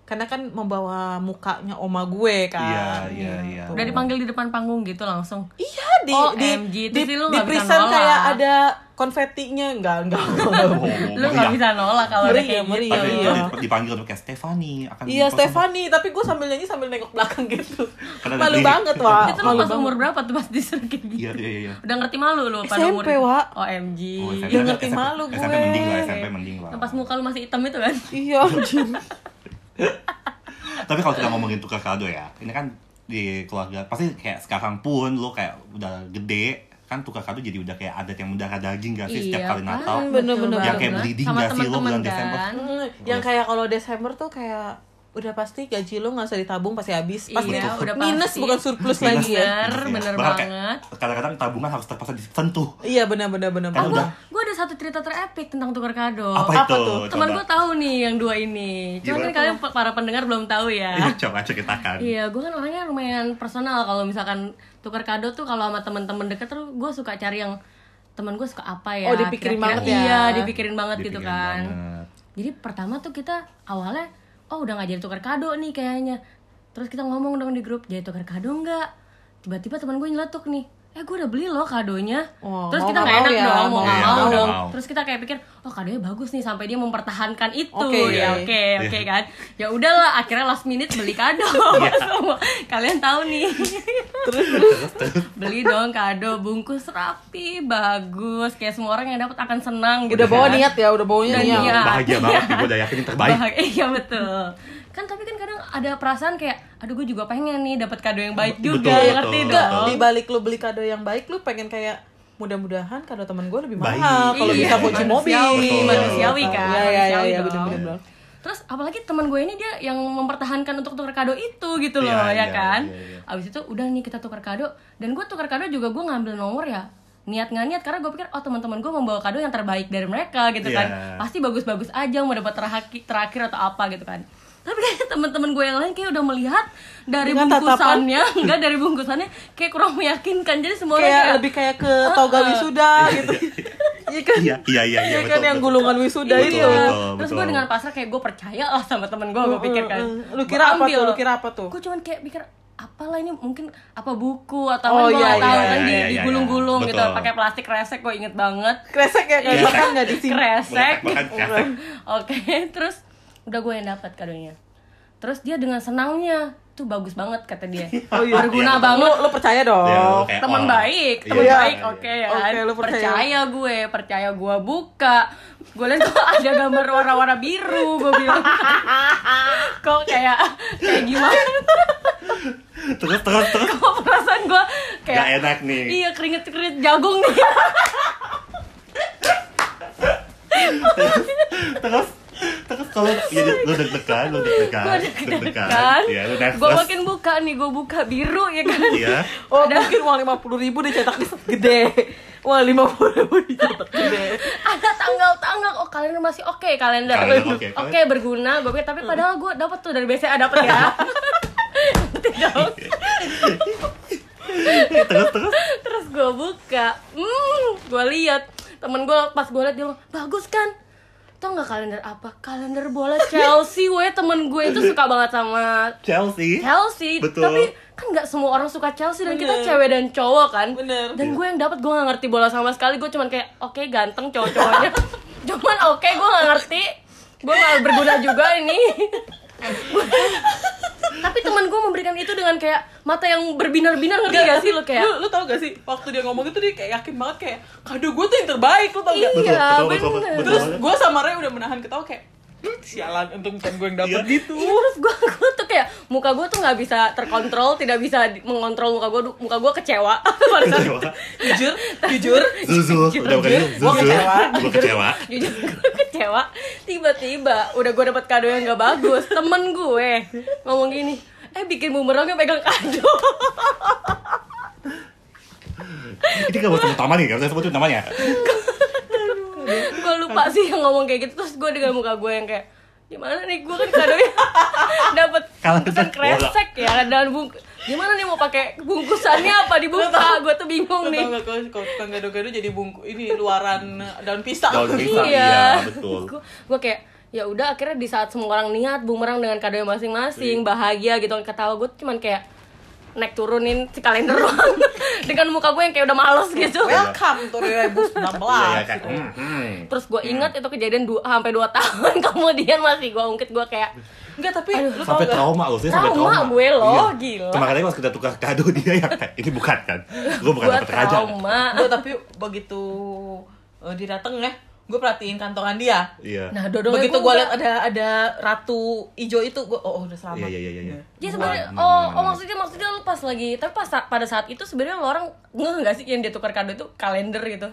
Speaker 2: karena kan membawa mukanya oma
Speaker 3: iya,
Speaker 2: gue kan
Speaker 3: iya, iya.
Speaker 4: Udah dipanggil di depan panggung gitu langsung.
Speaker 2: iya di
Speaker 4: OMG,
Speaker 2: di
Speaker 4: terus
Speaker 2: di,
Speaker 4: lu
Speaker 2: di
Speaker 4: nggak bisa
Speaker 2: present
Speaker 4: nolak.
Speaker 2: kayak ada konfetinya enggak enggak, enggak.
Speaker 3: Oh,
Speaker 4: Lu nggak
Speaker 3: meriah.
Speaker 4: bisa nolak kalau udah
Speaker 2: Meriah,
Speaker 4: kayak gitu.
Speaker 2: meriah,
Speaker 3: Tapi
Speaker 2: iya.
Speaker 3: itu dipanggil tuh kayak Stefani akan
Speaker 2: Iya
Speaker 3: dipotong-
Speaker 2: Stefani, tapi gue sambil nyanyi sambil nengok belakang gitu.
Speaker 3: Karena ada
Speaker 2: Malu
Speaker 3: lirik.
Speaker 2: banget, Wak.
Speaker 4: Itu lu
Speaker 2: Malu
Speaker 4: pas
Speaker 2: banget.
Speaker 4: umur berapa tuh pas disuruh kayak gitu?
Speaker 3: Iya, iya, iya.
Speaker 4: Udah ngerti malu lu pada
Speaker 2: SMP,
Speaker 4: umur
Speaker 2: Wak.
Speaker 4: OMG.
Speaker 3: Oh, SMP,
Speaker 2: Udah ngerti
Speaker 3: SMP,
Speaker 2: malu
Speaker 3: SMP
Speaker 2: gue.
Speaker 3: mending lah, SMP mending lah.
Speaker 4: Iya. Yang pas muka lu masih hitam itu kan.
Speaker 2: Iya, anjing.
Speaker 3: Tapi kalau kita ngomongin tukar kado ya, ini kan di keluarga pasti kayak sekarang pun lo kayak udah gede kan tukar kado jadi udah kayak adat yang darah daging gak Iya sih
Speaker 2: Iya
Speaker 3: setiap kali
Speaker 4: kan?
Speaker 3: Natal.
Speaker 2: Bener, bener,
Speaker 3: Yang
Speaker 2: bener.
Speaker 3: kayak bleeding
Speaker 4: Sama
Speaker 3: gak sih lo
Speaker 4: temen-temen
Speaker 3: bulan Desember?
Speaker 4: kan?
Speaker 2: Mm, yang kayak kalau Desember tuh kayak udah pasti gaji lo nggak usah ditabung pasti habis pasti
Speaker 4: Iya, udah
Speaker 2: minus
Speaker 4: pasti.
Speaker 2: bukan surplus
Speaker 3: Minus.
Speaker 2: lagi ya
Speaker 4: Bener, bener
Speaker 3: Iya Bahkan kayak
Speaker 4: banget.
Speaker 3: Kadang-kadang tabungan harus terpaksa disentuh.
Speaker 2: iya benar benar benar
Speaker 3: Karena Kan
Speaker 2: benar.
Speaker 3: udah
Speaker 4: Gue ada satu cerita terepik tentang tukar kado.
Speaker 3: apa,
Speaker 2: Oh, apa
Speaker 3: itu?
Speaker 2: tuh?
Speaker 4: Teman
Speaker 3: Coba.
Speaker 4: gue tahu nih yang dua ini. Cuma kan
Speaker 3: Gimana?
Speaker 4: kalian pa- para pendengar belum tahu ya.
Speaker 3: Iya, coba ceritakan.
Speaker 4: Iya, gue kan orangnya lumayan personal kalau misalkan tukar kado tuh kalau sama temen-temen deket tuh gue suka cari yang teman gue suka apa ya
Speaker 2: Oh, dipikirin
Speaker 4: kira-kira-
Speaker 2: banget ya.
Speaker 4: iya dipikirin banget gitu
Speaker 3: Dipikirin
Speaker 4: kan
Speaker 3: banget.
Speaker 4: jadi pertama tuh kita awalnya oh udah nggak jadi tukar kado nih kayaknya terus kita ngomong dong di grup jadi tukar kado nggak tiba-tiba teman gue nyeletuk nih eh gue udah beli loh kadonya
Speaker 2: Oh,
Speaker 4: terus
Speaker 2: mau
Speaker 4: kita
Speaker 2: nggak
Speaker 4: nggak
Speaker 2: mau
Speaker 4: enak
Speaker 2: ya,
Speaker 4: dong mau
Speaker 2: mau
Speaker 4: nggak
Speaker 3: nggak
Speaker 4: mau
Speaker 3: mau.
Speaker 4: dong
Speaker 3: Mau.
Speaker 4: terus kita kayak pikir oh kadonya bagus nih sampai dia mempertahankan itu ya
Speaker 2: Oke, iya.
Speaker 4: oke oke kan ya udahlah akhirnya last minute beli kado semua kalian tahu nih beli dong kado bungkus rapi bagus kayak semua orang yang dapat akan senang gitu
Speaker 2: udah bawa
Speaker 4: kan.
Speaker 2: niat ya udah bawanya
Speaker 4: Dan
Speaker 2: niat
Speaker 4: niat. Iya.
Speaker 3: bahagia banget gue udah yakin yang terbaik
Speaker 4: Bahag- iya betul kan tapi kan kadang ada perasaan kayak aduh gue juga pengen nih dapat kado yang baik
Speaker 3: Betul,
Speaker 4: juga
Speaker 3: betul,
Speaker 4: ngerti
Speaker 3: betul.
Speaker 2: Enggak,
Speaker 4: dong
Speaker 2: di balik lu beli kado yang baik lu pengen kayak mudah-mudahan kado teman gue lebih
Speaker 3: Baik.
Speaker 2: mahal kalau
Speaker 4: Iya,
Speaker 2: bisa kunci mobil
Speaker 4: manusiawi,
Speaker 3: Betul.
Speaker 4: manusiawi kan
Speaker 2: ya ya ya,
Speaker 4: manusiawi
Speaker 2: ya
Speaker 4: dong.
Speaker 2: bener bener bener.
Speaker 4: terus apalagi teman gue ini dia yang mempertahankan untuk tukar kado itu gitu loh ya
Speaker 3: Iya, iya,
Speaker 4: kan
Speaker 3: iya, iya.
Speaker 4: abis itu udah nih kita tukar kado dan gue tukar kado juga gue ngambil nomor ya niat nggak niat karena gue pikir oh teman-teman gue membawa kado yang terbaik dari mereka gitu kan
Speaker 3: Iya.
Speaker 4: pasti bagus-bagus aja mau dapat terakhir terakhir atau apa gitu kan tapi kayaknya teman-teman gue yang lain kayak udah melihat dari
Speaker 2: Dengan tatapan.
Speaker 4: bungkusannya enggak dari bungkusannya kayak kurang meyakinkan jadi semua orang
Speaker 2: kayak lebih kayak ke toga
Speaker 4: uh-uh.
Speaker 2: wisuda gitu iya kan
Speaker 3: iya iya iya iya
Speaker 2: iya kan yang gulungan wisuda
Speaker 3: Betul,
Speaker 2: itu
Speaker 3: betul.
Speaker 4: Iya. ya. terus gue dengan pasrah kayak gue percaya lah sama temen gue gue pikir kan
Speaker 2: Mm, mm, mm. lu
Speaker 4: Gua
Speaker 2: kira apa
Speaker 4: ambil.
Speaker 2: tuh lu kira apa tuh
Speaker 4: gue cuman kayak mikir apalah ini mungkin apa buku atau
Speaker 2: Oh,
Speaker 4: apa gue
Speaker 2: iya,
Speaker 4: nggak tahu
Speaker 2: iya,
Speaker 4: kan
Speaker 3: iya,
Speaker 4: di-
Speaker 3: iya, iya,
Speaker 4: digulung-gulung
Speaker 3: iya.
Speaker 4: gitu
Speaker 3: Betul.
Speaker 4: pakai plastik resek gue inget banget
Speaker 2: kresek ya kan
Speaker 3: Iya.
Speaker 2: bahkan nggak disimpan
Speaker 4: kresek
Speaker 3: Bahkan kresek.
Speaker 4: oke terus udah gue yang dapat kadonya terus dia dengan senangnya tuh bagus banget kata dia
Speaker 2: Oh, iya.
Speaker 4: berguna
Speaker 3: Iya,
Speaker 4: banget
Speaker 2: lu lu percaya dong
Speaker 4: teman baik, teman
Speaker 2: Iya.
Speaker 4: baik, oke ya.
Speaker 2: Oke, lu percaya.
Speaker 4: gue, percaya gue buka. Gue lihat kok ada gambar warna-warna biru, gue bilang. kok kayak kayak gimana?
Speaker 3: terus terus terus
Speaker 4: Kok perasaan gue kayak
Speaker 3: gak enak nih
Speaker 4: Iya, keringet-keringet jagung nih.
Speaker 3: terus terus kalau ya, lu deg-degan lu deg-degan
Speaker 4: gue deg-degan.
Speaker 3: ya lu nervous
Speaker 4: Gue kan? makin buka nih, gue buka biru ya kan.
Speaker 3: iya
Speaker 2: Oh mungkin uang lima puluh ribu dicetak gede Uang lima puluh ribu dicetak gede
Speaker 4: ada tanggal-tanggal oh kalian masih oke kalian udah
Speaker 3: Kalian
Speaker 4: oke
Speaker 3: oke, kalian-
Speaker 4: berguna gue pikir tapi padahal gue dapet tuh dari BCA dapet ya Gitu. Ngerti dong. terus gue buka hmm gue lihat temen gue pas gue liat dia bilang bagus kan tau nggak kalender apa kalender bola Chelsea weh temen gue itu suka banget sama
Speaker 3: Chelsea
Speaker 4: Chelsea
Speaker 3: Betul.
Speaker 4: tapi kan nggak semua orang suka Chelsea dan kita
Speaker 2: Bener.
Speaker 4: cewek dan cowok kan
Speaker 2: Bener.
Speaker 4: dan gue yang dapat gue nggak ngerti bola sama sekali gue cuman kayak oke ganteng cowok-cowoknya cuman oke gue nggak ngerti gue nggak berguna juga ini Gue- tapi teman gue memberikan itu dengan kayak mata yang berbinar-binar ngerti gak sih lo kayak
Speaker 2: lu, lu tau gak sih waktu dia ngomong itu dia kayak yakin banget kayak kado gue tuh yang terbaik lu tau gak
Speaker 3: Betul,
Speaker 4: iya
Speaker 3: betul, betul,
Speaker 4: bener
Speaker 3: betul.
Speaker 2: terus gue sama Ray udah menahan ketawa kayak "Duh, sialan untung kan gue yang dapet
Speaker 3: Iya.
Speaker 2: gitu
Speaker 4: Iya, terus gue gue tuh kayak muka gue tuh nggak bisa terkontrol tidak bisa di- mengontrol muka gue muka gue kecewa pada saat itu.
Speaker 2: jujur jujur
Speaker 3: Zuzu udah bukan Zuzu
Speaker 2: Gua kecewa.
Speaker 3: gue kecewa
Speaker 4: jujur gue kecewa tiba-tiba udah gue dapat kado yang gak bagus temen gue ngomong gini eh bikin bumerangnya pegang kado
Speaker 3: ini kan buat utama nih kan saya sebutin namanya
Speaker 4: gue lupa sih yang ngomong kayak gitu terus gue dengan muka gue yang kayak gimana nih gue kan kadonya dapat
Speaker 3: Kalau
Speaker 4: kan
Speaker 3: kita-
Speaker 4: kresek ya dan bung gimana nih mau pakai bungkusannya apa dibuka gue tuh bingung nih
Speaker 2: Tau gak kalau- kalau tukang gado-gado jadi bungku ini luaran daun pisang
Speaker 3: Daun pisang. Bisa, iya, betul.
Speaker 4: gue kayak ya udah akhirnya di saat semua orang niat bumerang dengan kado yang masing-masing bahagia gitu ketawa gue cuman kayak naik turunin si kalender doang dengan muka gue yang kayak udah males gitu
Speaker 2: welcome to Rebus
Speaker 3: iya ya
Speaker 2: 16
Speaker 3: kan hmm, hmm.
Speaker 4: terus gue ingat itu kejadian dua, sampai 2 tahun kemudian masih gue ungkit gue kayak
Speaker 2: enggak tapi lu tau
Speaker 3: sampai
Speaker 2: gak
Speaker 3: trauma loh sih sampai
Speaker 4: Trauma
Speaker 3: trauma
Speaker 4: gue loh, gila.
Speaker 3: kemarin aja pas kita tukar kado dia ya kayak, ini bukan kan gue bukan
Speaker 4: gue
Speaker 3: dapat raja kan?"
Speaker 4: trauma
Speaker 2: gue tapi begitu eh, dia dateng ya gue perhatiin kantongan dia
Speaker 3: iya
Speaker 4: nah dodol
Speaker 2: begitu gue liat ada ada ratu ijo itu gue oh, oh, udah selamat
Speaker 3: iya iya iya iya
Speaker 4: Dia sebenarnya
Speaker 3: Gua-
Speaker 4: oh, oh maksudnya maksudnya lu pas lagi tapi pas saat- pada saat itu sebenarnya lu orang ngeh nggak sih yang dia tukar kado itu kalender gitu.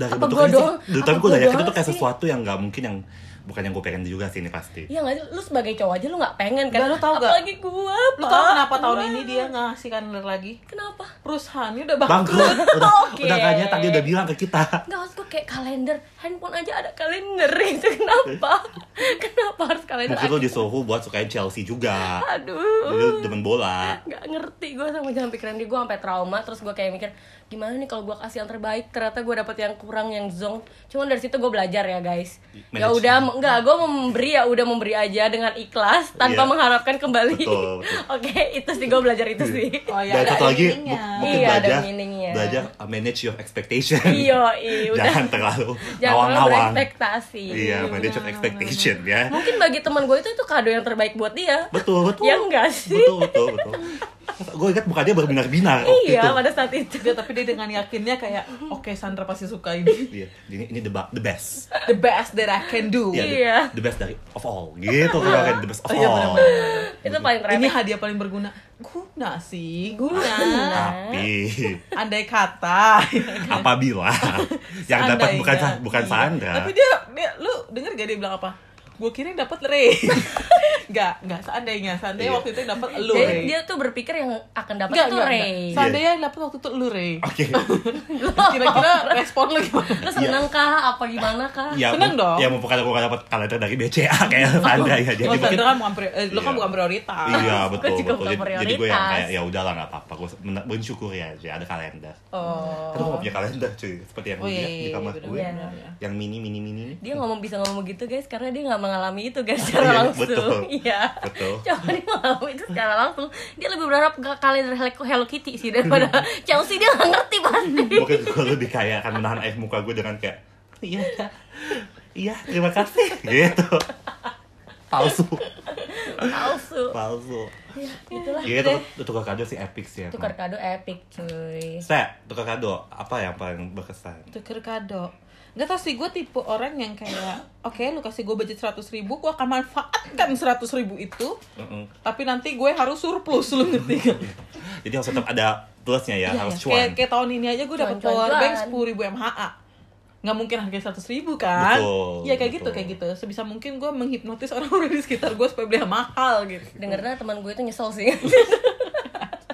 Speaker 3: dari
Speaker 4: Apa gua
Speaker 3: bentuknya sih,
Speaker 4: doang?
Speaker 3: duh, tapi
Speaker 4: Apa
Speaker 3: gue udah
Speaker 4: gua
Speaker 3: yakin itu
Speaker 4: doang
Speaker 3: kayak
Speaker 4: sih?
Speaker 3: sesuatu yang nggak mungkin yang bukan yang gue pengen juga sih ini pasti
Speaker 4: Iya nggak sih lu sebagai cowok aja lu nggak pengen kan?
Speaker 2: Nggak, lu tahu nggak?
Speaker 4: Apalagi gua.
Speaker 2: lu
Speaker 4: Pak.
Speaker 2: tau kenapa tahun ini dia ngasih kalender lagi
Speaker 4: Kenapa?
Speaker 2: perusahaannya udah bangkrut
Speaker 3: bangkrut udah
Speaker 4: Oke.
Speaker 3: udah kayaknya tadi udah bilang ke kita
Speaker 4: Nggak maksud gua kayak kalender handphone aja ada kalender itu gitu. kenapa? Kenapa harus kalian
Speaker 3: Mungkin lo disuruh buat sukain Chelsea juga.
Speaker 4: Aduh.
Speaker 3: Jadi lo demen bola.
Speaker 4: nggak ngerti gue sama jalan pikiran dia gue sampai trauma terus gue kayak mikir gimana nih kalau gue kasih yang terbaik ternyata gue dapet yang kurang yang zong cuman dari situ gue belajar ya guys ya
Speaker 3: Manage.
Speaker 4: udah nggak gue memberi ya udah memberi aja dengan ikhlas tanpa
Speaker 3: Iya.
Speaker 4: mengharapkan kembali
Speaker 3: Betul, betul. Iya.
Speaker 4: oke itu sih gue belajar itu sih
Speaker 2: Oh ya,
Speaker 3: Dan
Speaker 2: ada
Speaker 3: satu lagi
Speaker 2: endingnya.
Speaker 3: mu- mungkin
Speaker 4: Iya, ada
Speaker 3: belajar
Speaker 4: meaningnya.
Speaker 3: belajar uh, manage your expectation.
Speaker 4: iyo i udah
Speaker 3: Jangan terlalu
Speaker 4: jangan terlalu
Speaker 3: awang-awang.
Speaker 4: berekspektasi
Speaker 3: Iya, manage your expectation ya.
Speaker 4: mungkin bagi teman gue itu itu kado yang terbaik buat dia
Speaker 3: Betul, betul.
Speaker 4: Ya enggak sih?
Speaker 3: Betul, betul, betul. Gue ingat mukanya berbinar-binar waktu
Speaker 4: iya
Speaker 3: itu.
Speaker 4: pada saat itu
Speaker 2: Dia, tapi dia dengan yakinnya kayak oke Sandra pasti suka ini
Speaker 3: Iya, ini ini the, ba- the best.
Speaker 2: the best that I can do
Speaker 3: Iya, the-
Speaker 4: Iya.
Speaker 3: the, best dari of all. Gitu gue kan the best of
Speaker 2: Oh, iya,
Speaker 3: all.
Speaker 2: benar-benar.
Speaker 4: itu paling
Speaker 2: ini
Speaker 4: terakhir
Speaker 2: hadiah paling berguna guna sih
Speaker 4: Guna.
Speaker 2: guna
Speaker 3: Tapi
Speaker 2: andai kata
Speaker 3: apabila yang dapat bukan
Speaker 2: Seandainya.
Speaker 3: Sa- bukan
Speaker 2: Iya.
Speaker 3: Sandra.
Speaker 2: tapi dia dia lu denger gak dia bilang apa gue kira yang dapat Ray nggak nggak seandainya seandainya
Speaker 3: Iya.
Speaker 2: waktu itu yang dapat lu
Speaker 4: jadi
Speaker 2: Ray
Speaker 4: dia tuh berpikir yang akan dapat
Speaker 2: Nggak,
Speaker 4: itu
Speaker 2: nggak,
Speaker 4: Ray
Speaker 2: nggak.
Speaker 3: Iya.
Speaker 2: seandainya yang dapat waktu itu lu Ray
Speaker 3: Oke. Oh.
Speaker 2: kira-kira respon lu gimana
Speaker 4: Lu seneng kah? Apa gimana kah?
Speaker 3: Ya,
Speaker 2: Seneng
Speaker 3: mu-
Speaker 2: dong.
Speaker 3: Ya mumpung kalau gue dapat kalender dari BCA kayak Sandra ya. Jadi
Speaker 2: Kalau
Speaker 3: mungkin
Speaker 2: Sandra kan bukan pri- eh, lu kan
Speaker 3: Iya.
Speaker 2: bukan prioritas
Speaker 3: Iya
Speaker 4: Gua
Speaker 3: betul
Speaker 4: juga
Speaker 3: betul.
Speaker 4: bukan
Speaker 3: Jadi, jadi gue yang kayak
Speaker 4: prioritas.
Speaker 3: ya udahlah nggak apa-apa. Gue men- mensyukuri aja ada kalender.
Speaker 2: oh
Speaker 3: Kan gue nggak punya kalender cuy. Seperti yang
Speaker 2: Oh, iya,
Speaker 3: dia
Speaker 2: iya,
Speaker 3: di kamar
Speaker 2: iya,
Speaker 3: gue.
Speaker 2: benar, iya.
Speaker 3: Yang mini mini mini. ini.
Speaker 4: Dia ngomong bisa ngomong begitu guys karena dia nggak mengalami itu guys
Speaker 3: Iya,
Speaker 4: secara langsung.
Speaker 3: betul.
Speaker 4: Iya.
Speaker 3: Betul.
Speaker 4: Coba dia mengalami itu secara langsung. Dia lebih berharap ke kalender Hello Kitty sih daripada Chelsea dia nggak ngerti pasti.
Speaker 3: Mungkin gue lebih kayak akan menahan air muka gue dengan kayak iya Kak. iya terima kasih gitu. Palsu
Speaker 4: Palsu.
Speaker 3: palsu.
Speaker 4: Itulah
Speaker 3: Iya
Speaker 4: deh.
Speaker 3: itu tukar kado sih epic sih.
Speaker 4: Tukar
Speaker 3: emang.
Speaker 4: kado epic cuy.
Speaker 3: Set tukar kado apa yang paling berkesan?
Speaker 2: tuker kado Gak tau sih, gue tipe orang yang kayak Oke, lu kasih gue budget 100 ribu Gue akan manfaatkan 100 ribu itu
Speaker 3: Mm-mm.
Speaker 2: Tapi nanti gue harus surplus, lu ngerti gak?
Speaker 3: Jadi harus tetap ada plusnya ya,
Speaker 2: Iya,
Speaker 3: harus
Speaker 2: iya.
Speaker 3: cuan.
Speaker 2: Kayak, kayak tahun ini aja gue dapat
Speaker 4: Cuan, cuan,
Speaker 2: power bank
Speaker 4: cuan.
Speaker 2: sepuluh ribu mha nggak mungkin harganya seratus ribu kan
Speaker 3: Betul,
Speaker 2: Iya kayak gitu
Speaker 3: betul.
Speaker 2: kayak gitu sebisa mungkin gue menghipnotis orang-orang di sekitar gue supaya beli yang mahal gitu
Speaker 4: Dengernya teman gue itu nyesel sih.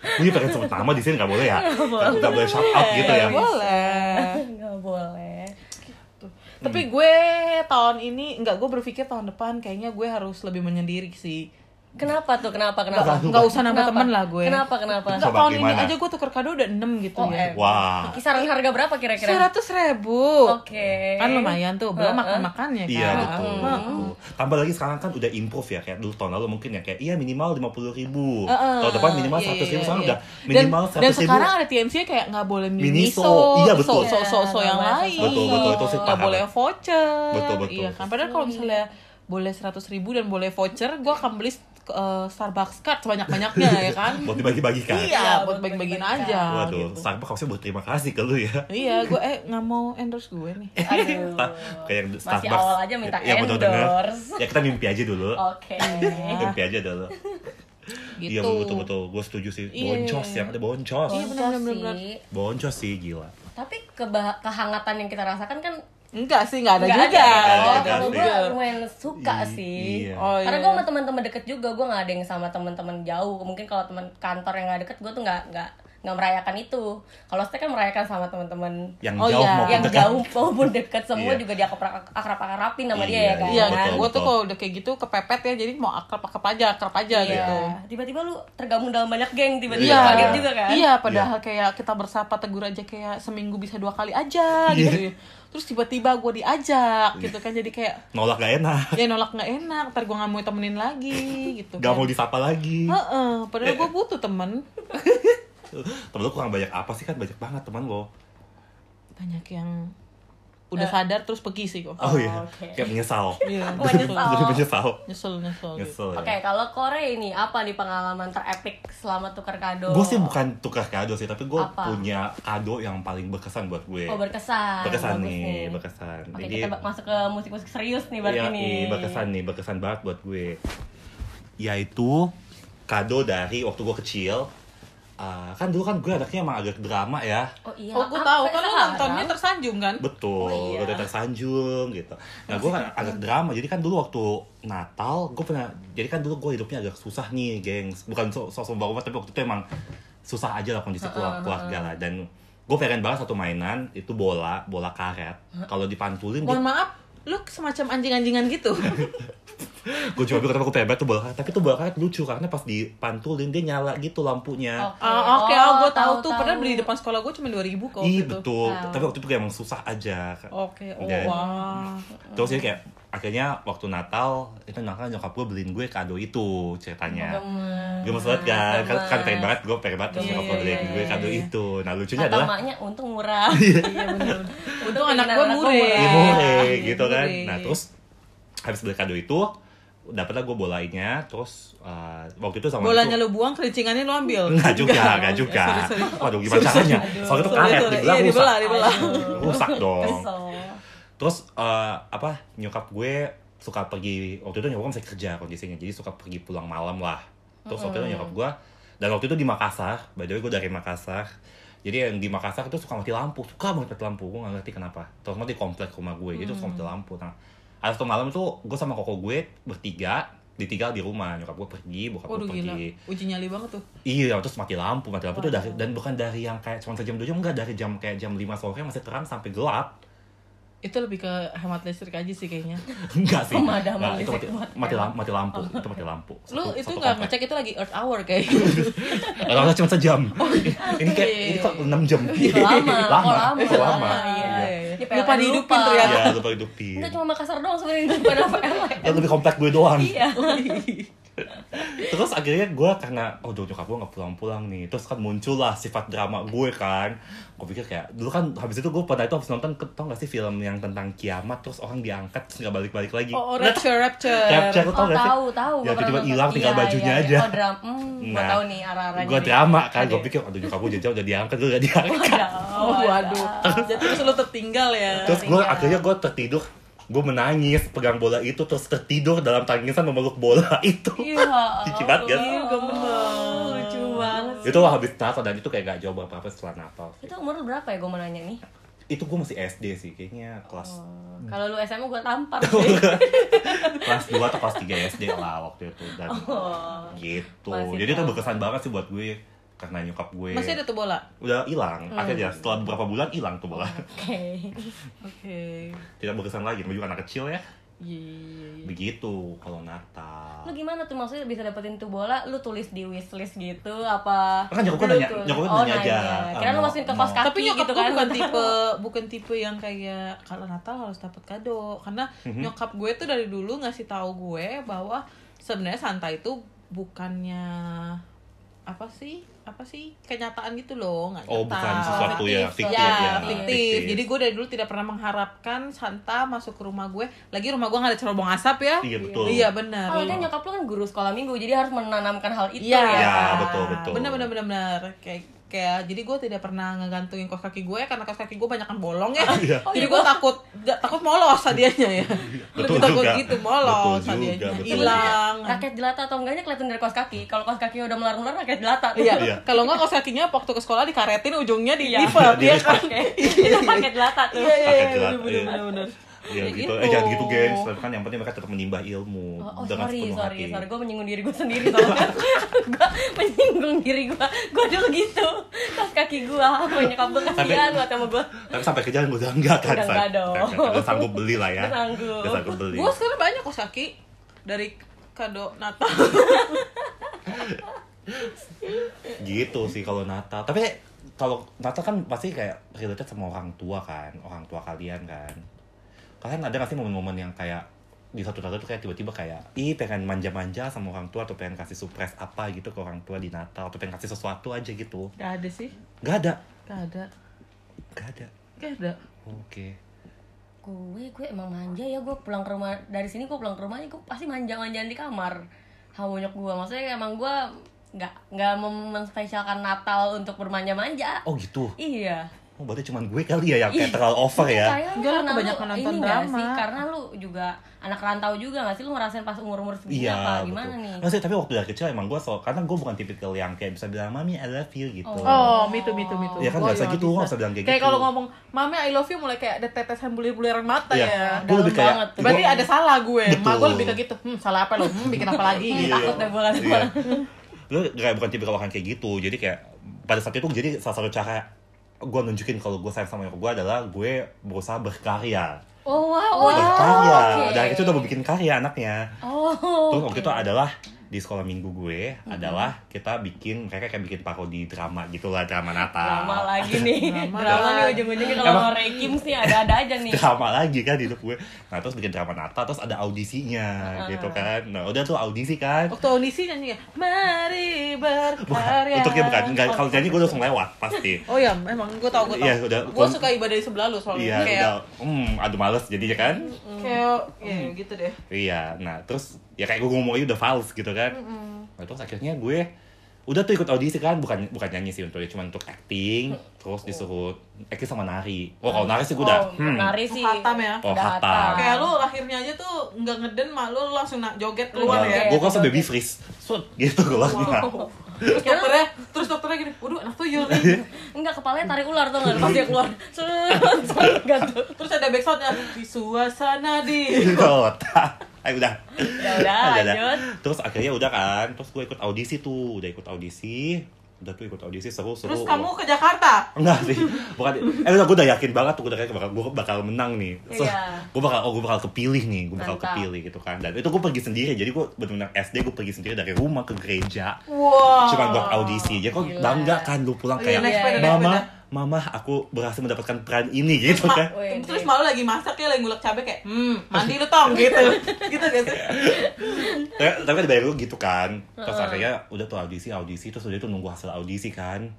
Speaker 3: Gue pengen sebut nama di sini nggak boleh ya? Nggak boleh shout out gitu ya?
Speaker 2: Nggak Eh, boleh
Speaker 4: Nggak boleh.
Speaker 2: Tuh. tapi
Speaker 3: Hmm.
Speaker 2: gue tahun ini nggak gue berpikir tahun depan kayaknya gue harus lebih menyendiri sih
Speaker 4: Kenapa tuh? Kenapa? Kenapa?
Speaker 2: nggak nggak usah nambah
Speaker 4: Kenapa?
Speaker 2: temen lah gue
Speaker 4: Kenapa? Kenapa?
Speaker 2: Nggak,
Speaker 3: Coba
Speaker 2: tahun ini
Speaker 3: gimana?
Speaker 2: aja gue tuker kado udah 6 gitu
Speaker 4: Oh,
Speaker 2: ya
Speaker 4: em.
Speaker 3: Wah,
Speaker 4: Kisaran harga berapa kira-kira?
Speaker 2: seratus ribu
Speaker 4: Oke.
Speaker 2: kan lumayan tuh belum makan makannya kan
Speaker 3: iya betul, betul. Tambah lagi sekarang kan udah improve ya kayak dulu tahun lalu mungkin ya kayak iya minimal lima puluh ribu, tahun depan minimal
Speaker 2: Iya,
Speaker 3: seratus
Speaker 2: iya,
Speaker 3: ribu, sekarang
Speaker 2: iya.
Speaker 3: udah minimal
Speaker 2: dan, dan
Speaker 3: seratus ribu.
Speaker 2: sekarang ada TNC kayak nggak boleh
Speaker 3: Miniso.
Speaker 2: miniso,
Speaker 3: Iya, betul.
Speaker 2: so, so, so, so
Speaker 4: Iya,
Speaker 2: yang
Speaker 4: nggak
Speaker 2: lain,
Speaker 4: boleh
Speaker 3: Betul, betul, itu sih
Speaker 2: nggak
Speaker 3: parah.
Speaker 2: boleh voucher,
Speaker 3: Betul, betul.
Speaker 2: iya kan. Padahal kalau misalnya boleh seratus ribu dan boleh voucher, gue akan beli eh, Starbucks card sebanyak banyaknya ya kan.
Speaker 3: buat dibagi-bagikan.
Speaker 2: iya, buat bagi-bagiin aja.
Speaker 3: Waduh,
Speaker 2: gitu.
Speaker 3: Starbucks harusnya buat terima kasih ke lu ya.
Speaker 2: Iya, gue eh nggak mau endorse gue nih.
Speaker 4: Aduh.
Speaker 3: Ah, kayak yang Starbucks.
Speaker 4: awal aja minta
Speaker 3: yang mau denger,
Speaker 4: endorse.
Speaker 3: Ya kita mimpi aja dulu.
Speaker 2: Oh, iya.
Speaker 4: Oke.
Speaker 3: Mimpi aja dulu. Iya
Speaker 2: Gitu.
Speaker 3: betul-betul, gue setuju sih. Boncos yang ada boncos.
Speaker 2: Iya, benar, benar, benar.
Speaker 4: Sih.
Speaker 3: Boncos sih gila.
Speaker 4: Tapi keba- kehangatan yang kita rasakan kan
Speaker 2: Enggak sih, nggak ada
Speaker 4: nggak
Speaker 2: juga.
Speaker 4: Oh,
Speaker 3: Nggak ada
Speaker 4: kalau gue
Speaker 3: juga.
Speaker 4: lumayan suka
Speaker 3: I-
Speaker 4: sih.
Speaker 3: iya.
Speaker 2: Oh,
Speaker 4: Karena
Speaker 2: iya.
Speaker 4: gue sama teman-teman deket juga, gue nggak ada yang sama teman-teman jauh. Mungkin kalau teman kantor yang nggak deket, gue tuh nggak nggak nggak merayakan itu. Kalau saya kan merayakan sama teman-teman
Speaker 3: Yang
Speaker 2: Oh,
Speaker 3: jauh
Speaker 2: iya.
Speaker 3: maupun
Speaker 4: yang
Speaker 3: dekat.
Speaker 4: jauh maupun deket semua
Speaker 3: Iya.
Speaker 4: juga dia akrab akrapin sama dia
Speaker 3: Iya,
Speaker 4: ya kan.
Speaker 2: Iya,
Speaker 3: Betul,
Speaker 2: gue tuh
Speaker 3: betul.
Speaker 2: kalau udah kayak gitu kepepet ya, jadi mau akrab-akrab aja, akrab aja
Speaker 4: Iya.
Speaker 2: gitu.
Speaker 4: Tiba-tiba lu tergabung dalam banyak geng, tiba-tiba
Speaker 2: Iya,
Speaker 4: kaget juga kan?
Speaker 2: Iya, padahal kayak kita bersapa tegur aja kayak seminggu bisa dua kali
Speaker 3: Iya.
Speaker 2: aja gitu. Terus tiba-tiba gue diajak gitu kan jadi kayak
Speaker 3: Nolak gak enak.
Speaker 2: ya nolak nggak enak, ntar gue nggak mau temenin lagi gitu.
Speaker 3: Gak
Speaker 2: kan.
Speaker 3: mau disapa lagi.
Speaker 2: Heeh, padahal gue butuh temen.
Speaker 3: Temen lu kurang banyak apa sih kan banyak banget teman lo.
Speaker 2: Banyak yang udah
Speaker 4: Ya.
Speaker 2: sadar terus pergi sih kok.
Speaker 3: Oh, iya.
Speaker 4: oke.
Speaker 3: Kayak menyesal.
Speaker 2: Iya,
Speaker 4: Menyesal. Oh,
Speaker 3: Jadi menyesal.
Speaker 2: nyesel nyesel. gitu.
Speaker 3: Nyesel.
Speaker 4: Oke,
Speaker 3: Ya.
Speaker 4: kalau Korea ini apa nih pengalaman terepik selama tukar kado?
Speaker 3: Gue sih bukan tukar kado sih, tapi gue
Speaker 4: Apa?
Speaker 3: punya kado yang paling berkesan buat gue.
Speaker 4: Oh, berkesan.
Speaker 3: Berkesan
Speaker 4: Bagus
Speaker 3: nih, berkesan.
Speaker 4: Oke,
Speaker 3: Jadi-
Speaker 4: kita ba- masuk ke musik-musik serius nih berarti
Speaker 3: Iya,
Speaker 4: nih.
Speaker 3: iya, berkesan nih, berkesan banget buat gue. Yaitu kado dari waktu gue kecil. Ah, kan dulu kan gue anaknya emang agak drama ya.
Speaker 4: Oh iya.
Speaker 2: Oh, gue
Speaker 4: Apa
Speaker 2: tahu kan lu
Speaker 4: sekarang?
Speaker 2: nontonnya tersanjung kan?
Speaker 3: Betul,
Speaker 4: Oh, iya.
Speaker 3: udah tersanjung gitu. Nah, gue kan agak drama. Jadi kan dulu waktu Natal, gue pernah. Jadi kan dulu gue hidupnya agak susah nih, gengs. Bukan so- sosok bawa tapi waktu itu emang susah aja lah kondisi keluar- keluarga lah. Dan gue pengen banget satu mainan itu bola, bola karet. Kalau dipantulin,
Speaker 2: Mohon maaf, lu semacam anjing-anjingan gitu
Speaker 3: gue coba bilang kenapa gue pengen banget tuh bola karet tapi tuh bola karet lucu karena pas dipantulin dia nyala gitu lampunya
Speaker 4: Ah,
Speaker 2: Oh, oke oh, gue tahu tuh padahal beli di depan sekolah gue cuma 2000 kok
Speaker 3: Ih
Speaker 2: gitu.
Speaker 3: betul, Iya,
Speaker 4: Tahu.
Speaker 3: tapi waktu itu kayak emang susah aja
Speaker 2: oke oh
Speaker 3: Dan-
Speaker 2: wah
Speaker 3: Terus jadi kayak akhirnya waktu Natal itu Natal nyokap gue beliin gue kado itu ceritanya. Gue
Speaker 4: Hmm. Gemes
Speaker 3: banget kan, kan, kan pengen
Speaker 4: Gemes.
Speaker 3: banget gue pengen banget terus
Speaker 2: Hmm. Iya,
Speaker 3: nyokap gue
Speaker 2: iya,
Speaker 3: beliin
Speaker 2: iya,
Speaker 3: gue
Speaker 2: iya,
Speaker 3: kado
Speaker 2: iya.
Speaker 3: itu. Nah lucunya
Speaker 4: Kata
Speaker 3: adalah
Speaker 4: maknya untung murah
Speaker 2: iya bener untung
Speaker 4: pengen
Speaker 2: anak gue
Speaker 4: anak gua
Speaker 2: murah
Speaker 4: murah.
Speaker 3: "Ih, murah
Speaker 2: iya,
Speaker 3: gitu kan.
Speaker 2: Murah.
Speaker 3: Nah terus habis beli kado itu dapatlah gue bolanya terus eh, waktu itu sama
Speaker 2: bolanya
Speaker 3: itu,
Speaker 2: lu buang kericingannya lu ambil
Speaker 3: Enggak juga, enggak juga.
Speaker 2: sorry, sorry.
Speaker 3: Waduh gimana caranya? Soalnya itu
Speaker 2: Sorry,
Speaker 3: karet
Speaker 2: sorry.
Speaker 3: dibelah rusak.
Speaker 2: Iya, dibelah dibelah
Speaker 3: Rusak dong.
Speaker 4: Kesel
Speaker 3: Iya. Terus eh, apa nyokap gue suka pergi waktu itu nyokap gue masih kerja kondisinya jadi suka pergi pulang malam lah. Terus waktu itu nyokap gue dan waktu itu di Makassar, by the way gue dari Makassar. Jadi yang di Makassar itu suka mati lampu, suka banget mati lampu, gue gak ngerti kenapa. Terutama di komplek rumah gue, jadi suka mati
Speaker 2: Mm.
Speaker 3: lampu. Nah, ada satu malam itu gue sama koko gue bertiga, ditinggal di rumah. Nyokap gue pergi, bokap
Speaker 2: waduh
Speaker 3: gue
Speaker 2: gila
Speaker 3: pergi.
Speaker 2: uji nyali banget tuh
Speaker 3: Iya, terus mati lampu, mati lampu tuh dari dan bukan dari yang kayak cuma sejam dua jam, enggak dari jam kayak jam 5 sore masih terang sampai gelap.
Speaker 2: itu lebih ke hemat listrik aja sih kayaknya
Speaker 3: Enggak sih.
Speaker 4: Pemadaman
Speaker 3: Enggak, itu mati,
Speaker 4: listrik buat
Speaker 3: mati, lampu, mati lampu,
Speaker 4: Oh.
Speaker 3: itu mati lampu.
Speaker 2: lu
Speaker 3: Satu-
Speaker 2: itu
Speaker 3: satu
Speaker 2: nggak
Speaker 3: komplek.
Speaker 2: ngecek itu lagi earth hour kayak gitu?
Speaker 3: Kalau nggak cuma sejam. ini kayak ini kok 6 jam.
Speaker 4: Lama, Oh, iya. kok lama,
Speaker 3: Itu lama.
Speaker 4: lama, iya. Di PLN
Speaker 2: lupa dihidupin
Speaker 4: lupa.
Speaker 2: ternyata
Speaker 3: Iya, lupa hidupin.
Speaker 4: Enggak cuma Makassar doang sebenarnya daripada PLN
Speaker 3: Itu lebih komplek gue doang.
Speaker 4: Iya
Speaker 3: Terus akhirnya gue karena oh nyokap gue nggak pulang-pulang nih. Terus kan muncullah sifat drama gue kan. Gue pikir kayak dulu kan habis itu gue pernah itu habis nonton ke- tau gak sih film yang tentang kiamat terus orang diangkat terus nggak balik-balik lagi.
Speaker 2: oh, oh
Speaker 3: Nah,
Speaker 2: rapture rapture
Speaker 3: Rapture
Speaker 4: Oh
Speaker 3: lu tau gak sih?
Speaker 4: tahu tahu. gua
Speaker 3: Ya,
Speaker 4: pernah
Speaker 3: tiba-tiba
Speaker 4: nonton. Iya,
Speaker 3: hilang, tinggal bajunya aja.
Speaker 4: Oh drama. Hmm, gua
Speaker 3: Nah,
Speaker 4: tahu nih arah-arahnya.
Speaker 3: Gue drama kan, gue pikir aduh nyokap gue jauh udah diangkat, gue gak diangkat
Speaker 4: Ya
Speaker 2: oh, waduh jadi terus lu tertinggal ya
Speaker 3: terus gue
Speaker 4: Iya.
Speaker 3: akhirnya gue tertidur gue menangis pegang bola itu terus tertidur dalam tangisan memeluk bola itu
Speaker 4: Iya.
Speaker 3: Jijik banget kan?
Speaker 4: Allah.
Speaker 2: Iya, gemes.
Speaker 4: Lucu banget.
Speaker 3: itu habis Natal dan itu kayak gak jauh berapa setelah Natal
Speaker 4: Itu umur lu berapa ya gue mau nanya nih?
Speaker 3: itu gue masih SD sih kayaknya kelas
Speaker 4: Oh. Kalau lu SMA gue tampar
Speaker 3: Oh,
Speaker 4: sih.
Speaker 3: kelas 2 atau kelas 3 SD lah waktu itu dan
Speaker 4: Oh.
Speaker 3: gitu
Speaker 4: Masih
Speaker 3: jadi itu
Speaker 4: tahu.
Speaker 3: berkesan banget sih buat gue karena nyokap gue
Speaker 2: masih ada tuh bola
Speaker 3: udah hilang
Speaker 4: Hmm.
Speaker 3: akhirnya setelah beberapa bulan hilang tuh bola
Speaker 4: Oke.
Speaker 2: oke
Speaker 3: tidak berkesan lagi namanya juga anak kecil ya
Speaker 2: Iya, iya, iya.
Speaker 3: begitu
Speaker 4: Lu
Speaker 3: kalau Natal
Speaker 4: gimana tuh maksudnya bisa dapetin tuh bola? Lu tulis di wishlist gitu apa?
Speaker 3: Kan nyokap gua
Speaker 4: Lu
Speaker 3: nanya-
Speaker 4: tulis?
Speaker 3: nyokap gua
Speaker 4: Oh,
Speaker 3: nanya aja.
Speaker 4: Kira lu
Speaker 3: Mau-
Speaker 4: masukin ke kos
Speaker 3: mau.
Speaker 4: kaki
Speaker 2: tapi nyokap
Speaker 4: gitu
Speaker 2: gue
Speaker 4: kan.
Speaker 2: bukan tipe bukan tipe yang kayak kalau Natal harus dapat kado karena
Speaker 3: Mhm.
Speaker 2: nyokap gue tuh dari dulu ngasih tahu gue bahwa sebenarnya Santa itu bukannya apa sih apa sih kenyataan gitu loh nggak
Speaker 3: oh
Speaker 2: nyata.
Speaker 3: bukan sesuatu ya
Speaker 4: Fiktif,
Speaker 3: fiktif ya
Speaker 2: Ya, fiktif. Jadi gue dari dulu tidak pernah mengharapkan Santa masuk ke rumah gue. Lagi rumah gue nggak ada cerobong asap ya.
Speaker 3: iya betul
Speaker 2: Iya benar.
Speaker 4: Oh, kan nyokap lu kan guru sekolah minggu, jadi harus menanamkan hal itu
Speaker 2: Iya,
Speaker 4: ya.
Speaker 3: Iya, betul, betul.
Speaker 2: Benar benar benar benar. Kayak kayak jadi gue tidak pernah ngegantungin kaos kaki gue karena kaos kaki gue banyak kan bolong ya.
Speaker 3: Iya.
Speaker 2: jadi gue takut nggak- takut molos hadiahnya ya.
Speaker 3: Betul
Speaker 2: Lebih takut
Speaker 3: juga.
Speaker 2: gitu molos
Speaker 3: Betul juga,
Speaker 2: hadiahnya
Speaker 3: betul.
Speaker 2: hilang.
Speaker 4: Rakyat jelata atau enggaknya kelihatan dari kaos kaki. Kalau kaos kakinya udah melar-melar rakyat jelata.
Speaker 2: Iya,
Speaker 3: Iya.
Speaker 2: kalau nggak kaos kakinya waktu ke sekolah dikaretin ujungnya
Speaker 4: Iya.
Speaker 2: di lipat
Speaker 3: Iya.
Speaker 2: ya kan.
Speaker 4: itu rakyat jelata tuh.
Speaker 2: Iya, iya,
Speaker 3: Pakai
Speaker 2: iya,
Speaker 3: gelat,
Speaker 2: bener,
Speaker 3: iya.
Speaker 2: bener, bener.
Speaker 3: Iya
Speaker 2: Kayak
Speaker 3: gitu.
Speaker 2: gitu.
Speaker 3: Eh jangan gitu guys. Tapi kan yang penting mereka tetap menimba ilmu
Speaker 4: Oh, oh,
Speaker 3: dengan
Speaker 4: sorry,
Speaker 3: sepenuh
Speaker 4: sorry,
Speaker 3: hati.
Speaker 4: sorry. Gue menyinggung diri gue sendiri soalnya. gue menyinggung diri gue. Gue dulu gitu. Kaos kaki gue. Gue nyokap gue kasihan buat sama gue.
Speaker 3: Tapi sampai kerjaan gue udah enggak kan.
Speaker 4: Udah
Speaker 3: San?
Speaker 4: enggak dong.
Speaker 3: Udah enggak. Udah sanggup beli lah ya.
Speaker 4: Udah sanggup.
Speaker 3: Udah sanggup beli.
Speaker 2: Gue sekarang banyak kaos kaki dari kado Natal.
Speaker 3: Gitu sih kalau Natal. Tapi kalau Natal kan pasti kayak related sama orang tua kan, orang tua kalian kan. Kalian ada gak sih momen-momen yang kayak di satu Natal tuh kayak tiba-tiba kayak ih pengen manja-manja sama orang tua atau pengen kasih surprise apa gitu ke orang tua di Natal atau pengen kasih sesuatu aja gitu.
Speaker 2: Gak ada sih,
Speaker 3: Gak ada.
Speaker 2: gak ada,
Speaker 3: Gak ada.
Speaker 2: gak ada.
Speaker 3: Oke.
Speaker 4: Gue, gue emang manja ya. Gue pulang ke rumah. Dari sini gue pulang ke rumahnya. Gue pasti manja-manjaan di kamar. Sama nyok gue. Maksudnya emang gue nggak nggak mem- menspesialkan Natal untuk bermanja-manja.
Speaker 3: Oh gitu.
Speaker 4: Iya.
Speaker 3: Oh, berarti cuman gue kali ya yang kayak terlalu over ya.
Speaker 4: Kayaknya
Speaker 2: Enggak,
Speaker 4: karena
Speaker 2: kebanyakan
Speaker 4: lu
Speaker 2: nonton
Speaker 4: ini nggak
Speaker 2: drama.
Speaker 4: sih? Karena lu juga anak rantau juga gak sih? Lu ngerasain pas umur-umur segini
Speaker 3: Iya,
Speaker 4: apa?
Speaker 3: betul.
Speaker 4: Gimana nih?
Speaker 3: Nggak sih, tapi waktu dari kecil emang gue so, karena gue bukan tipikal yang kayak bisa bilang mami I love you gitu.
Speaker 2: Oh, me too, me too, me too.
Speaker 3: Ya kan,
Speaker 2: Gua
Speaker 3: nggak usah
Speaker 2: juga
Speaker 3: gitu, nggak usah bilang kayak gitu.
Speaker 2: kalau ngomong, Mami I love you mulai kayak ada tetesan bulir-buliran mata
Speaker 3: Iya.
Speaker 2: ya.
Speaker 3: Gue
Speaker 4: Dalam
Speaker 3: lebih kayak
Speaker 4: banget.
Speaker 2: Berarti ada salah gue,
Speaker 3: Betul.
Speaker 2: ma gue lebih kayak gitu, hmm salah apa lo, hmm bikin apa lagi gitu.
Speaker 4: Takut deh bola
Speaker 3: Iya. Lu kayak bukan tipikal orang kayak gitu. Jadi kayak pada saat itu jadi salah satu cara gue nunjukin kalau gue sayang sama nyokap gue adalah gue berusaha berkarya.
Speaker 4: Oh wow, oh, oke.
Speaker 3: berkarya dari kecil Iya, udah mau bikin karya anaknya
Speaker 4: Oh.
Speaker 3: Terus waktu itu adalah di sekolah minggu gue
Speaker 4: Mm-hmm.
Speaker 3: adalah kita bikin mereka kayak bikin parodi drama gitu lah drama Natal.
Speaker 4: Drama lagi nih.
Speaker 2: Drama.
Speaker 4: Drama nih ujung-ujungnya kalau
Speaker 3: Emang-
Speaker 4: Rekim sih ada-ada aja nih.
Speaker 3: Drama lagi kan di hidup gue. Nah terus bikin drama Natal terus ada audisinya gitu kan. Nah udah tuh audisi
Speaker 4: Oh,
Speaker 3: kan.
Speaker 2: Waktu audisi nyanyi Mari
Speaker 3: Bukan,
Speaker 2: berkarya
Speaker 3: untuknya bukan. Nggak, kalau nyanyi gue langsung lewat pasti.
Speaker 2: Oh iya, emang gue tau, gue tau
Speaker 3: Iya, udah.
Speaker 2: Gue suka ibadah di sebelah lu soalnya
Speaker 3: Iya
Speaker 2: Kayak,
Speaker 3: udah. Hmm, aduh males jadinya kan.
Speaker 2: mm, kayak ya, gitu deh
Speaker 3: Iya. Nah terus ya kayak gue ngomongnya udah fals gitu kan. Nah terus akhirnya gue udah tuh ikut audisi kan bukan bukan nyanyi sih untungnya cuma untuk acting terus disuruh acting sama nari oh kalau nari sih gue udah
Speaker 4: Oh,
Speaker 3: hmm.
Speaker 4: nari sih.
Speaker 2: Hatam ya?
Speaker 3: Oh,
Speaker 4: Udah
Speaker 3: hatam.
Speaker 2: Kayak lu lahirnya aja tuh nggak ngeden mah lu langsung nak joget keluar
Speaker 4: Joget.
Speaker 2: ya
Speaker 3: gue kan baby freeze Sut, gitu keluarnya
Speaker 2: Terus dokternya, terus dokternya gini, waduh anak tuyul
Speaker 3: Iya.
Speaker 2: nih
Speaker 4: Enggak kepalanya tarik ular tuh enggak pas dia keluar. Seret, seret, Gantung.
Speaker 2: Terus ada backsoundnya, di suasana di
Speaker 3: kota ayo udah
Speaker 4: Ya udah, lanjut.
Speaker 3: terus akhirnya udah kan terus gue ikut audisi tuh udah ikut audisi udah tuh ikut audisi seru seru
Speaker 2: Terus kamu ke Jakarta
Speaker 3: Enggak sih, bukan. Eh, udah, gue udah yakin banget tuh, gue udah kayak bakal, gue bakal menang nih. So,
Speaker 4: Iya.
Speaker 3: Gue bakal, oh gue bakal kepilih nih, gue bakal
Speaker 4: Mantap.
Speaker 3: kepilih gitu kan. Dan itu gue pergi sendiri, jadi gue benar-benar SD gue pergi sendiri dari rumah ke gereja,
Speaker 2: Wow
Speaker 3: cuma buat audisi. Jadi kok
Speaker 4: Oh. Gila.
Speaker 3: bangga kan lu pulang
Speaker 2: Oh
Speaker 3: kayak,
Speaker 2: iya, naik sepeda, naik
Speaker 3: mama,
Speaker 2: sepeda.
Speaker 3: mama, aku berhasil mendapatkan peran ini gitu
Speaker 2: Ma-
Speaker 3: kan.
Speaker 4: Wede.
Speaker 2: terus malu lagi masak ya lagi ngulek cabai kayak hmm mandi lu tong gitu gitu gak sih
Speaker 3: tapi, tapi kan dibayar dulu gitu kan terus akhirnya udah tuh audisi audisi terus udah tuh nunggu hasil audisi kan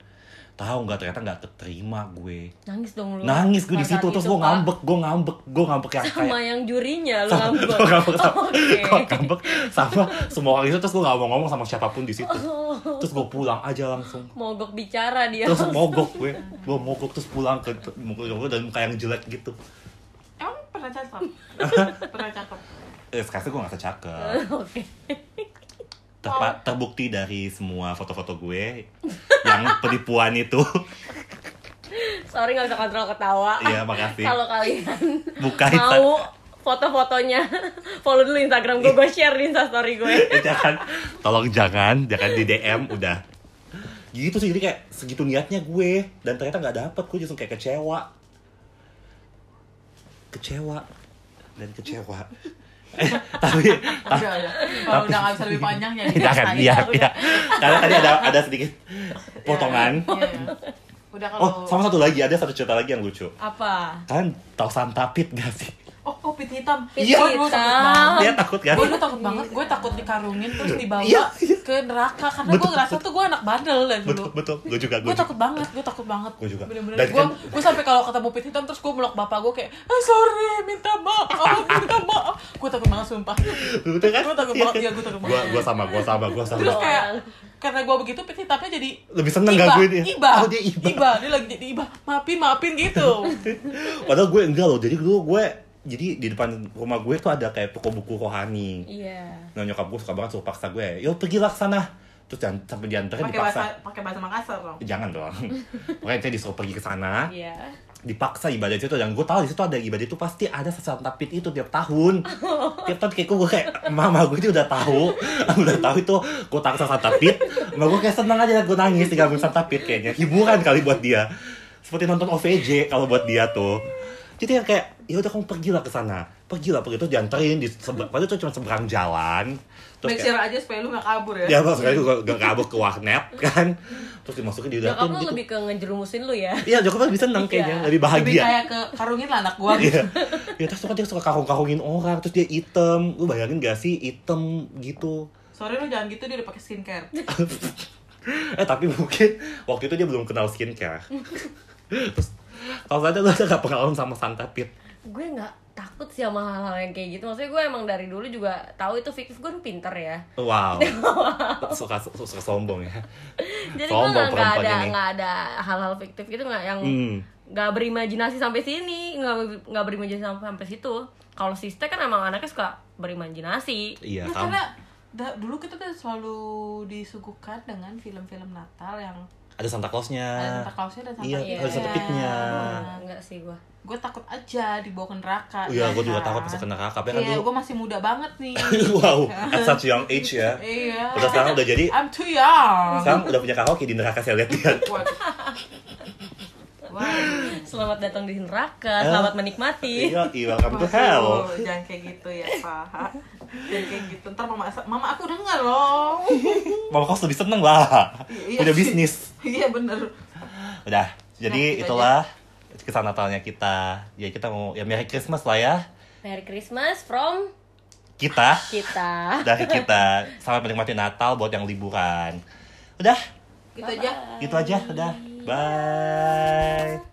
Speaker 3: tahu nggak ternyata nggak keterima gue
Speaker 4: Nangis dong lu.
Speaker 3: nangis gue di
Speaker 4: Pas saat
Speaker 3: situ terus
Speaker 4: itu,
Speaker 3: gue
Speaker 4: Pak.
Speaker 3: ngambek gue ngambek gue ngambek yang
Speaker 4: Hmm. sama
Speaker 3: kayak
Speaker 4: yang jurinya lu
Speaker 3: sama
Speaker 4: ngambek.
Speaker 3: gue ngambek sama
Speaker 4: Oke.
Speaker 3: gue ngambek sama semua orang itu terus gue nggak mau ngomong sama siapapun di situ
Speaker 4: Oh.
Speaker 3: terus gue pulang aja langsung
Speaker 4: Mogok bicara dia.
Speaker 3: terus mogok gue gue mogok terus pulang ke mukul gue dan muka yang jelek gitu
Speaker 2: emang pernah cakep pernah cakep
Speaker 3: eh, sekarang gue nggak cakep
Speaker 4: Oke.
Speaker 3: Terpa-
Speaker 4: Oh.
Speaker 3: terbukti dari semua foto-foto gue yang penipuan itu
Speaker 4: Sorry nggak bisa kontrol ketawa.
Speaker 3: Iya, makasih.
Speaker 4: Kalau kalian
Speaker 3: buka itu
Speaker 4: mau foto-fotonya, follow dulu Instagram gue, gue share di Instastory gue.
Speaker 3: jangan Ya kan? tolong jangan jangan di DM udah gitu sih jadi kayak segitu niatnya gue dan ternyata nggak dapet gue justru kayak kecewa kecewa dan kecewa Eh, tapi tapi
Speaker 2: udah udah kalau udah nggak bisa lebih panjang ya
Speaker 3: jangan iya iya karena tadi ada ada sedikit potongan
Speaker 2: Iya, udah kalau
Speaker 3: oh sama satu lagi ada satu cerita lagi yang lucu Kan
Speaker 2: apa
Speaker 3: kalian tahu santapit gak sih
Speaker 2: oh oh pit hitam
Speaker 3: Iya.
Speaker 2: Oh, gua takut banget.
Speaker 3: dia takut kan
Speaker 2: gue dulu takut banget gue takut dikarungin terus dibawa
Speaker 3: Iya, iya.
Speaker 2: ke neraka karena
Speaker 3: Betul,
Speaker 2: gue ngerasa tuh gue anak bandel dari dulu
Speaker 3: betul betul gue juga gue
Speaker 2: gue
Speaker 3: juga.
Speaker 2: takut banget gue takut banget
Speaker 3: Gua juga.
Speaker 2: bener-bener
Speaker 3: Dan
Speaker 2: gue
Speaker 3: kan-
Speaker 2: gue sampai kalau ketemu pit hitam terus gue meluk bapak gue kayak ah sorry minta maaf minta maaf gue takut banget sumpah
Speaker 3: Betul kan?
Speaker 2: Gua takut
Speaker 3: Iya
Speaker 2: banget,
Speaker 3: kan?
Speaker 2: iya, gua takut
Speaker 3: Gua- gua sama, gua sama, gua sama.
Speaker 2: terus kayak karena gue begitu pit hitamnya jadi
Speaker 3: Lebih seneng
Speaker 2: iba
Speaker 3: gangguin dia.
Speaker 2: iba
Speaker 3: Oh, dia iba.
Speaker 2: dia lagi jadi iba maafin maafin gitu
Speaker 3: Padahal gue enggak loh. Jadi dulu gue jadi di depan rumah gue tuh ada kayak toko buku rohani.
Speaker 4: Iya.
Speaker 3: Nah nyokap gue suka banget suruh paksa gue, yo pergi lah ke sana. Terus jangan sampai dianterin
Speaker 2: pakai
Speaker 3: dipaksa.
Speaker 2: bahasa pakai bahasa Makassar dong
Speaker 3: Jangan dong. Makanya saya disuruh pergi ke sana,
Speaker 4: Iya.
Speaker 3: dipaksa ibadah itu dan gue tahu di situ ada ibadah itu pasti ada sesantapit itu tiap tahun. tiap tahun kayak gue kayak mama gue itu udah tahu, udah tahu itu gue takut sesantapit. Mama gue kayak seneng aja gue nangis digangguin sesantapit kayaknya hiburan kali buat dia. Seperti nonton OVJ kalau buat dia tuh. Jadi yang kayak ya udah kamu pergilah ke sana, pergilah pergi terus dianterin di seberang, padahal itu cuma seberang jalan. Terus
Speaker 2: make sure aja supaya lu gak kabur ya
Speaker 3: dia maksudnya gue gak kabur ke warnet kan, terus dimasukin di
Speaker 4: Nyokap
Speaker 3: dalam
Speaker 4: lu
Speaker 3: gitu.
Speaker 4: lebih ke ngerjerumusin lu ya.
Speaker 3: Iya, Joko lebih seneng
Speaker 4: Iya.
Speaker 3: kayaknya, lebih bahagia.
Speaker 2: lebih kayak ke karungin lah anak gue gitu
Speaker 3: Iya. ya terus tuh kan dia suka karung-karungin orang, terus dia item. Lu bayangin gak sih item gitu?
Speaker 2: sorry lu jangan gitu dia udah pakai skincare
Speaker 3: Ya, eh tapi mungkin waktu itu dia belum kenal skincare. terus kalau saja lu ada gak pengalaman sama santapit?
Speaker 4: Gue nggak takut sih sama hal-hal yang kayak gitu. Maksudnya gue emang dari dulu juga tahu itu fiktif gue kan pinter ya.
Speaker 3: Wow. suka, suka suka sombong ya.
Speaker 4: Jadi gue
Speaker 3: Sombong
Speaker 4: nggak nggak
Speaker 3: perempuan
Speaker 4: ada
Speaker 3: ini.
Speaker 4: nggak ada hal-hal fiktif gitu nggak yang
Speaker 3: Hmm.
Speaker 4: nggak berimajinasi sampai sini nggak nggak berimajinasi sampai sampai situ. Kalau siste kan emang anaknya suka berimajinasi.
Speaker 3: Iya,
Speaker 2: Nah,
Speaker 3: kamu.
Speaker 2: karena da- dulu kita tuh selalu disuguhkan dengan film-film Natal yang
Speaker 3: Ada Santa Clausnya.
Speaker 2: ada Santa Clausnya dan Santa
Speaker 3: Iya,
Speaker 4: Claus.
Speaker 3: ada Santa Pitnya.
Speaker 4: Nah, nggak sih gue.
Speaker 2: Gue takut aja dibawa ke neraka.
Speaker 3: Iya, gue
Speaker 2: gua
Speaker 3: juga takut masuk ke neraka. Tapi kan
Speaker 2: Iya,
Speaker 3: dulu
Speaker 2: gue masih muda banget nih.
Speaker 3: wow, at such young age ya.
Speaker 2: iya.
Speaker 3: Udah sekarang udah jadi,
Speaker 2: I'm too young.
Speaker 3: sekarang udah punya karaoke di neraka saya lihat dia.
Speaker 2: Waduh. Wah,
Speaker 4: Selamat datang di neraka, selamat menikmati.
Speaker 3: Eh. Iya, iya, welcome to hell.
Speaker 2: Aduh, jangan kayak gitu ya, Pak. jangan kayak gitu. Ntar mama, mama aku denger loh.
Speaker 3: Mama kos lebih seneng lah.
Speaker 2: Iya
Speaker 3: Udah
Speaker 2: sih.
Speaker 3: bisnis.
Speaker 2: Iya bener.
Speaker 3: Udah. Jadi
Speaker 2: Nah, gitu
Speaker 3: itulah kisah Natalnya kita. Ya kita mau ya Merry Christmas lah ya.
Speaker 4: Merry Christmas from
Speaker 3: Kita
Speaker 4: kita.
Speaker 3: dari kita selamat menikmati Natal buat yang liburan. Udah,
Speaker 2: Gitu aja.
Speaker 3: gitu aja udah. Bye.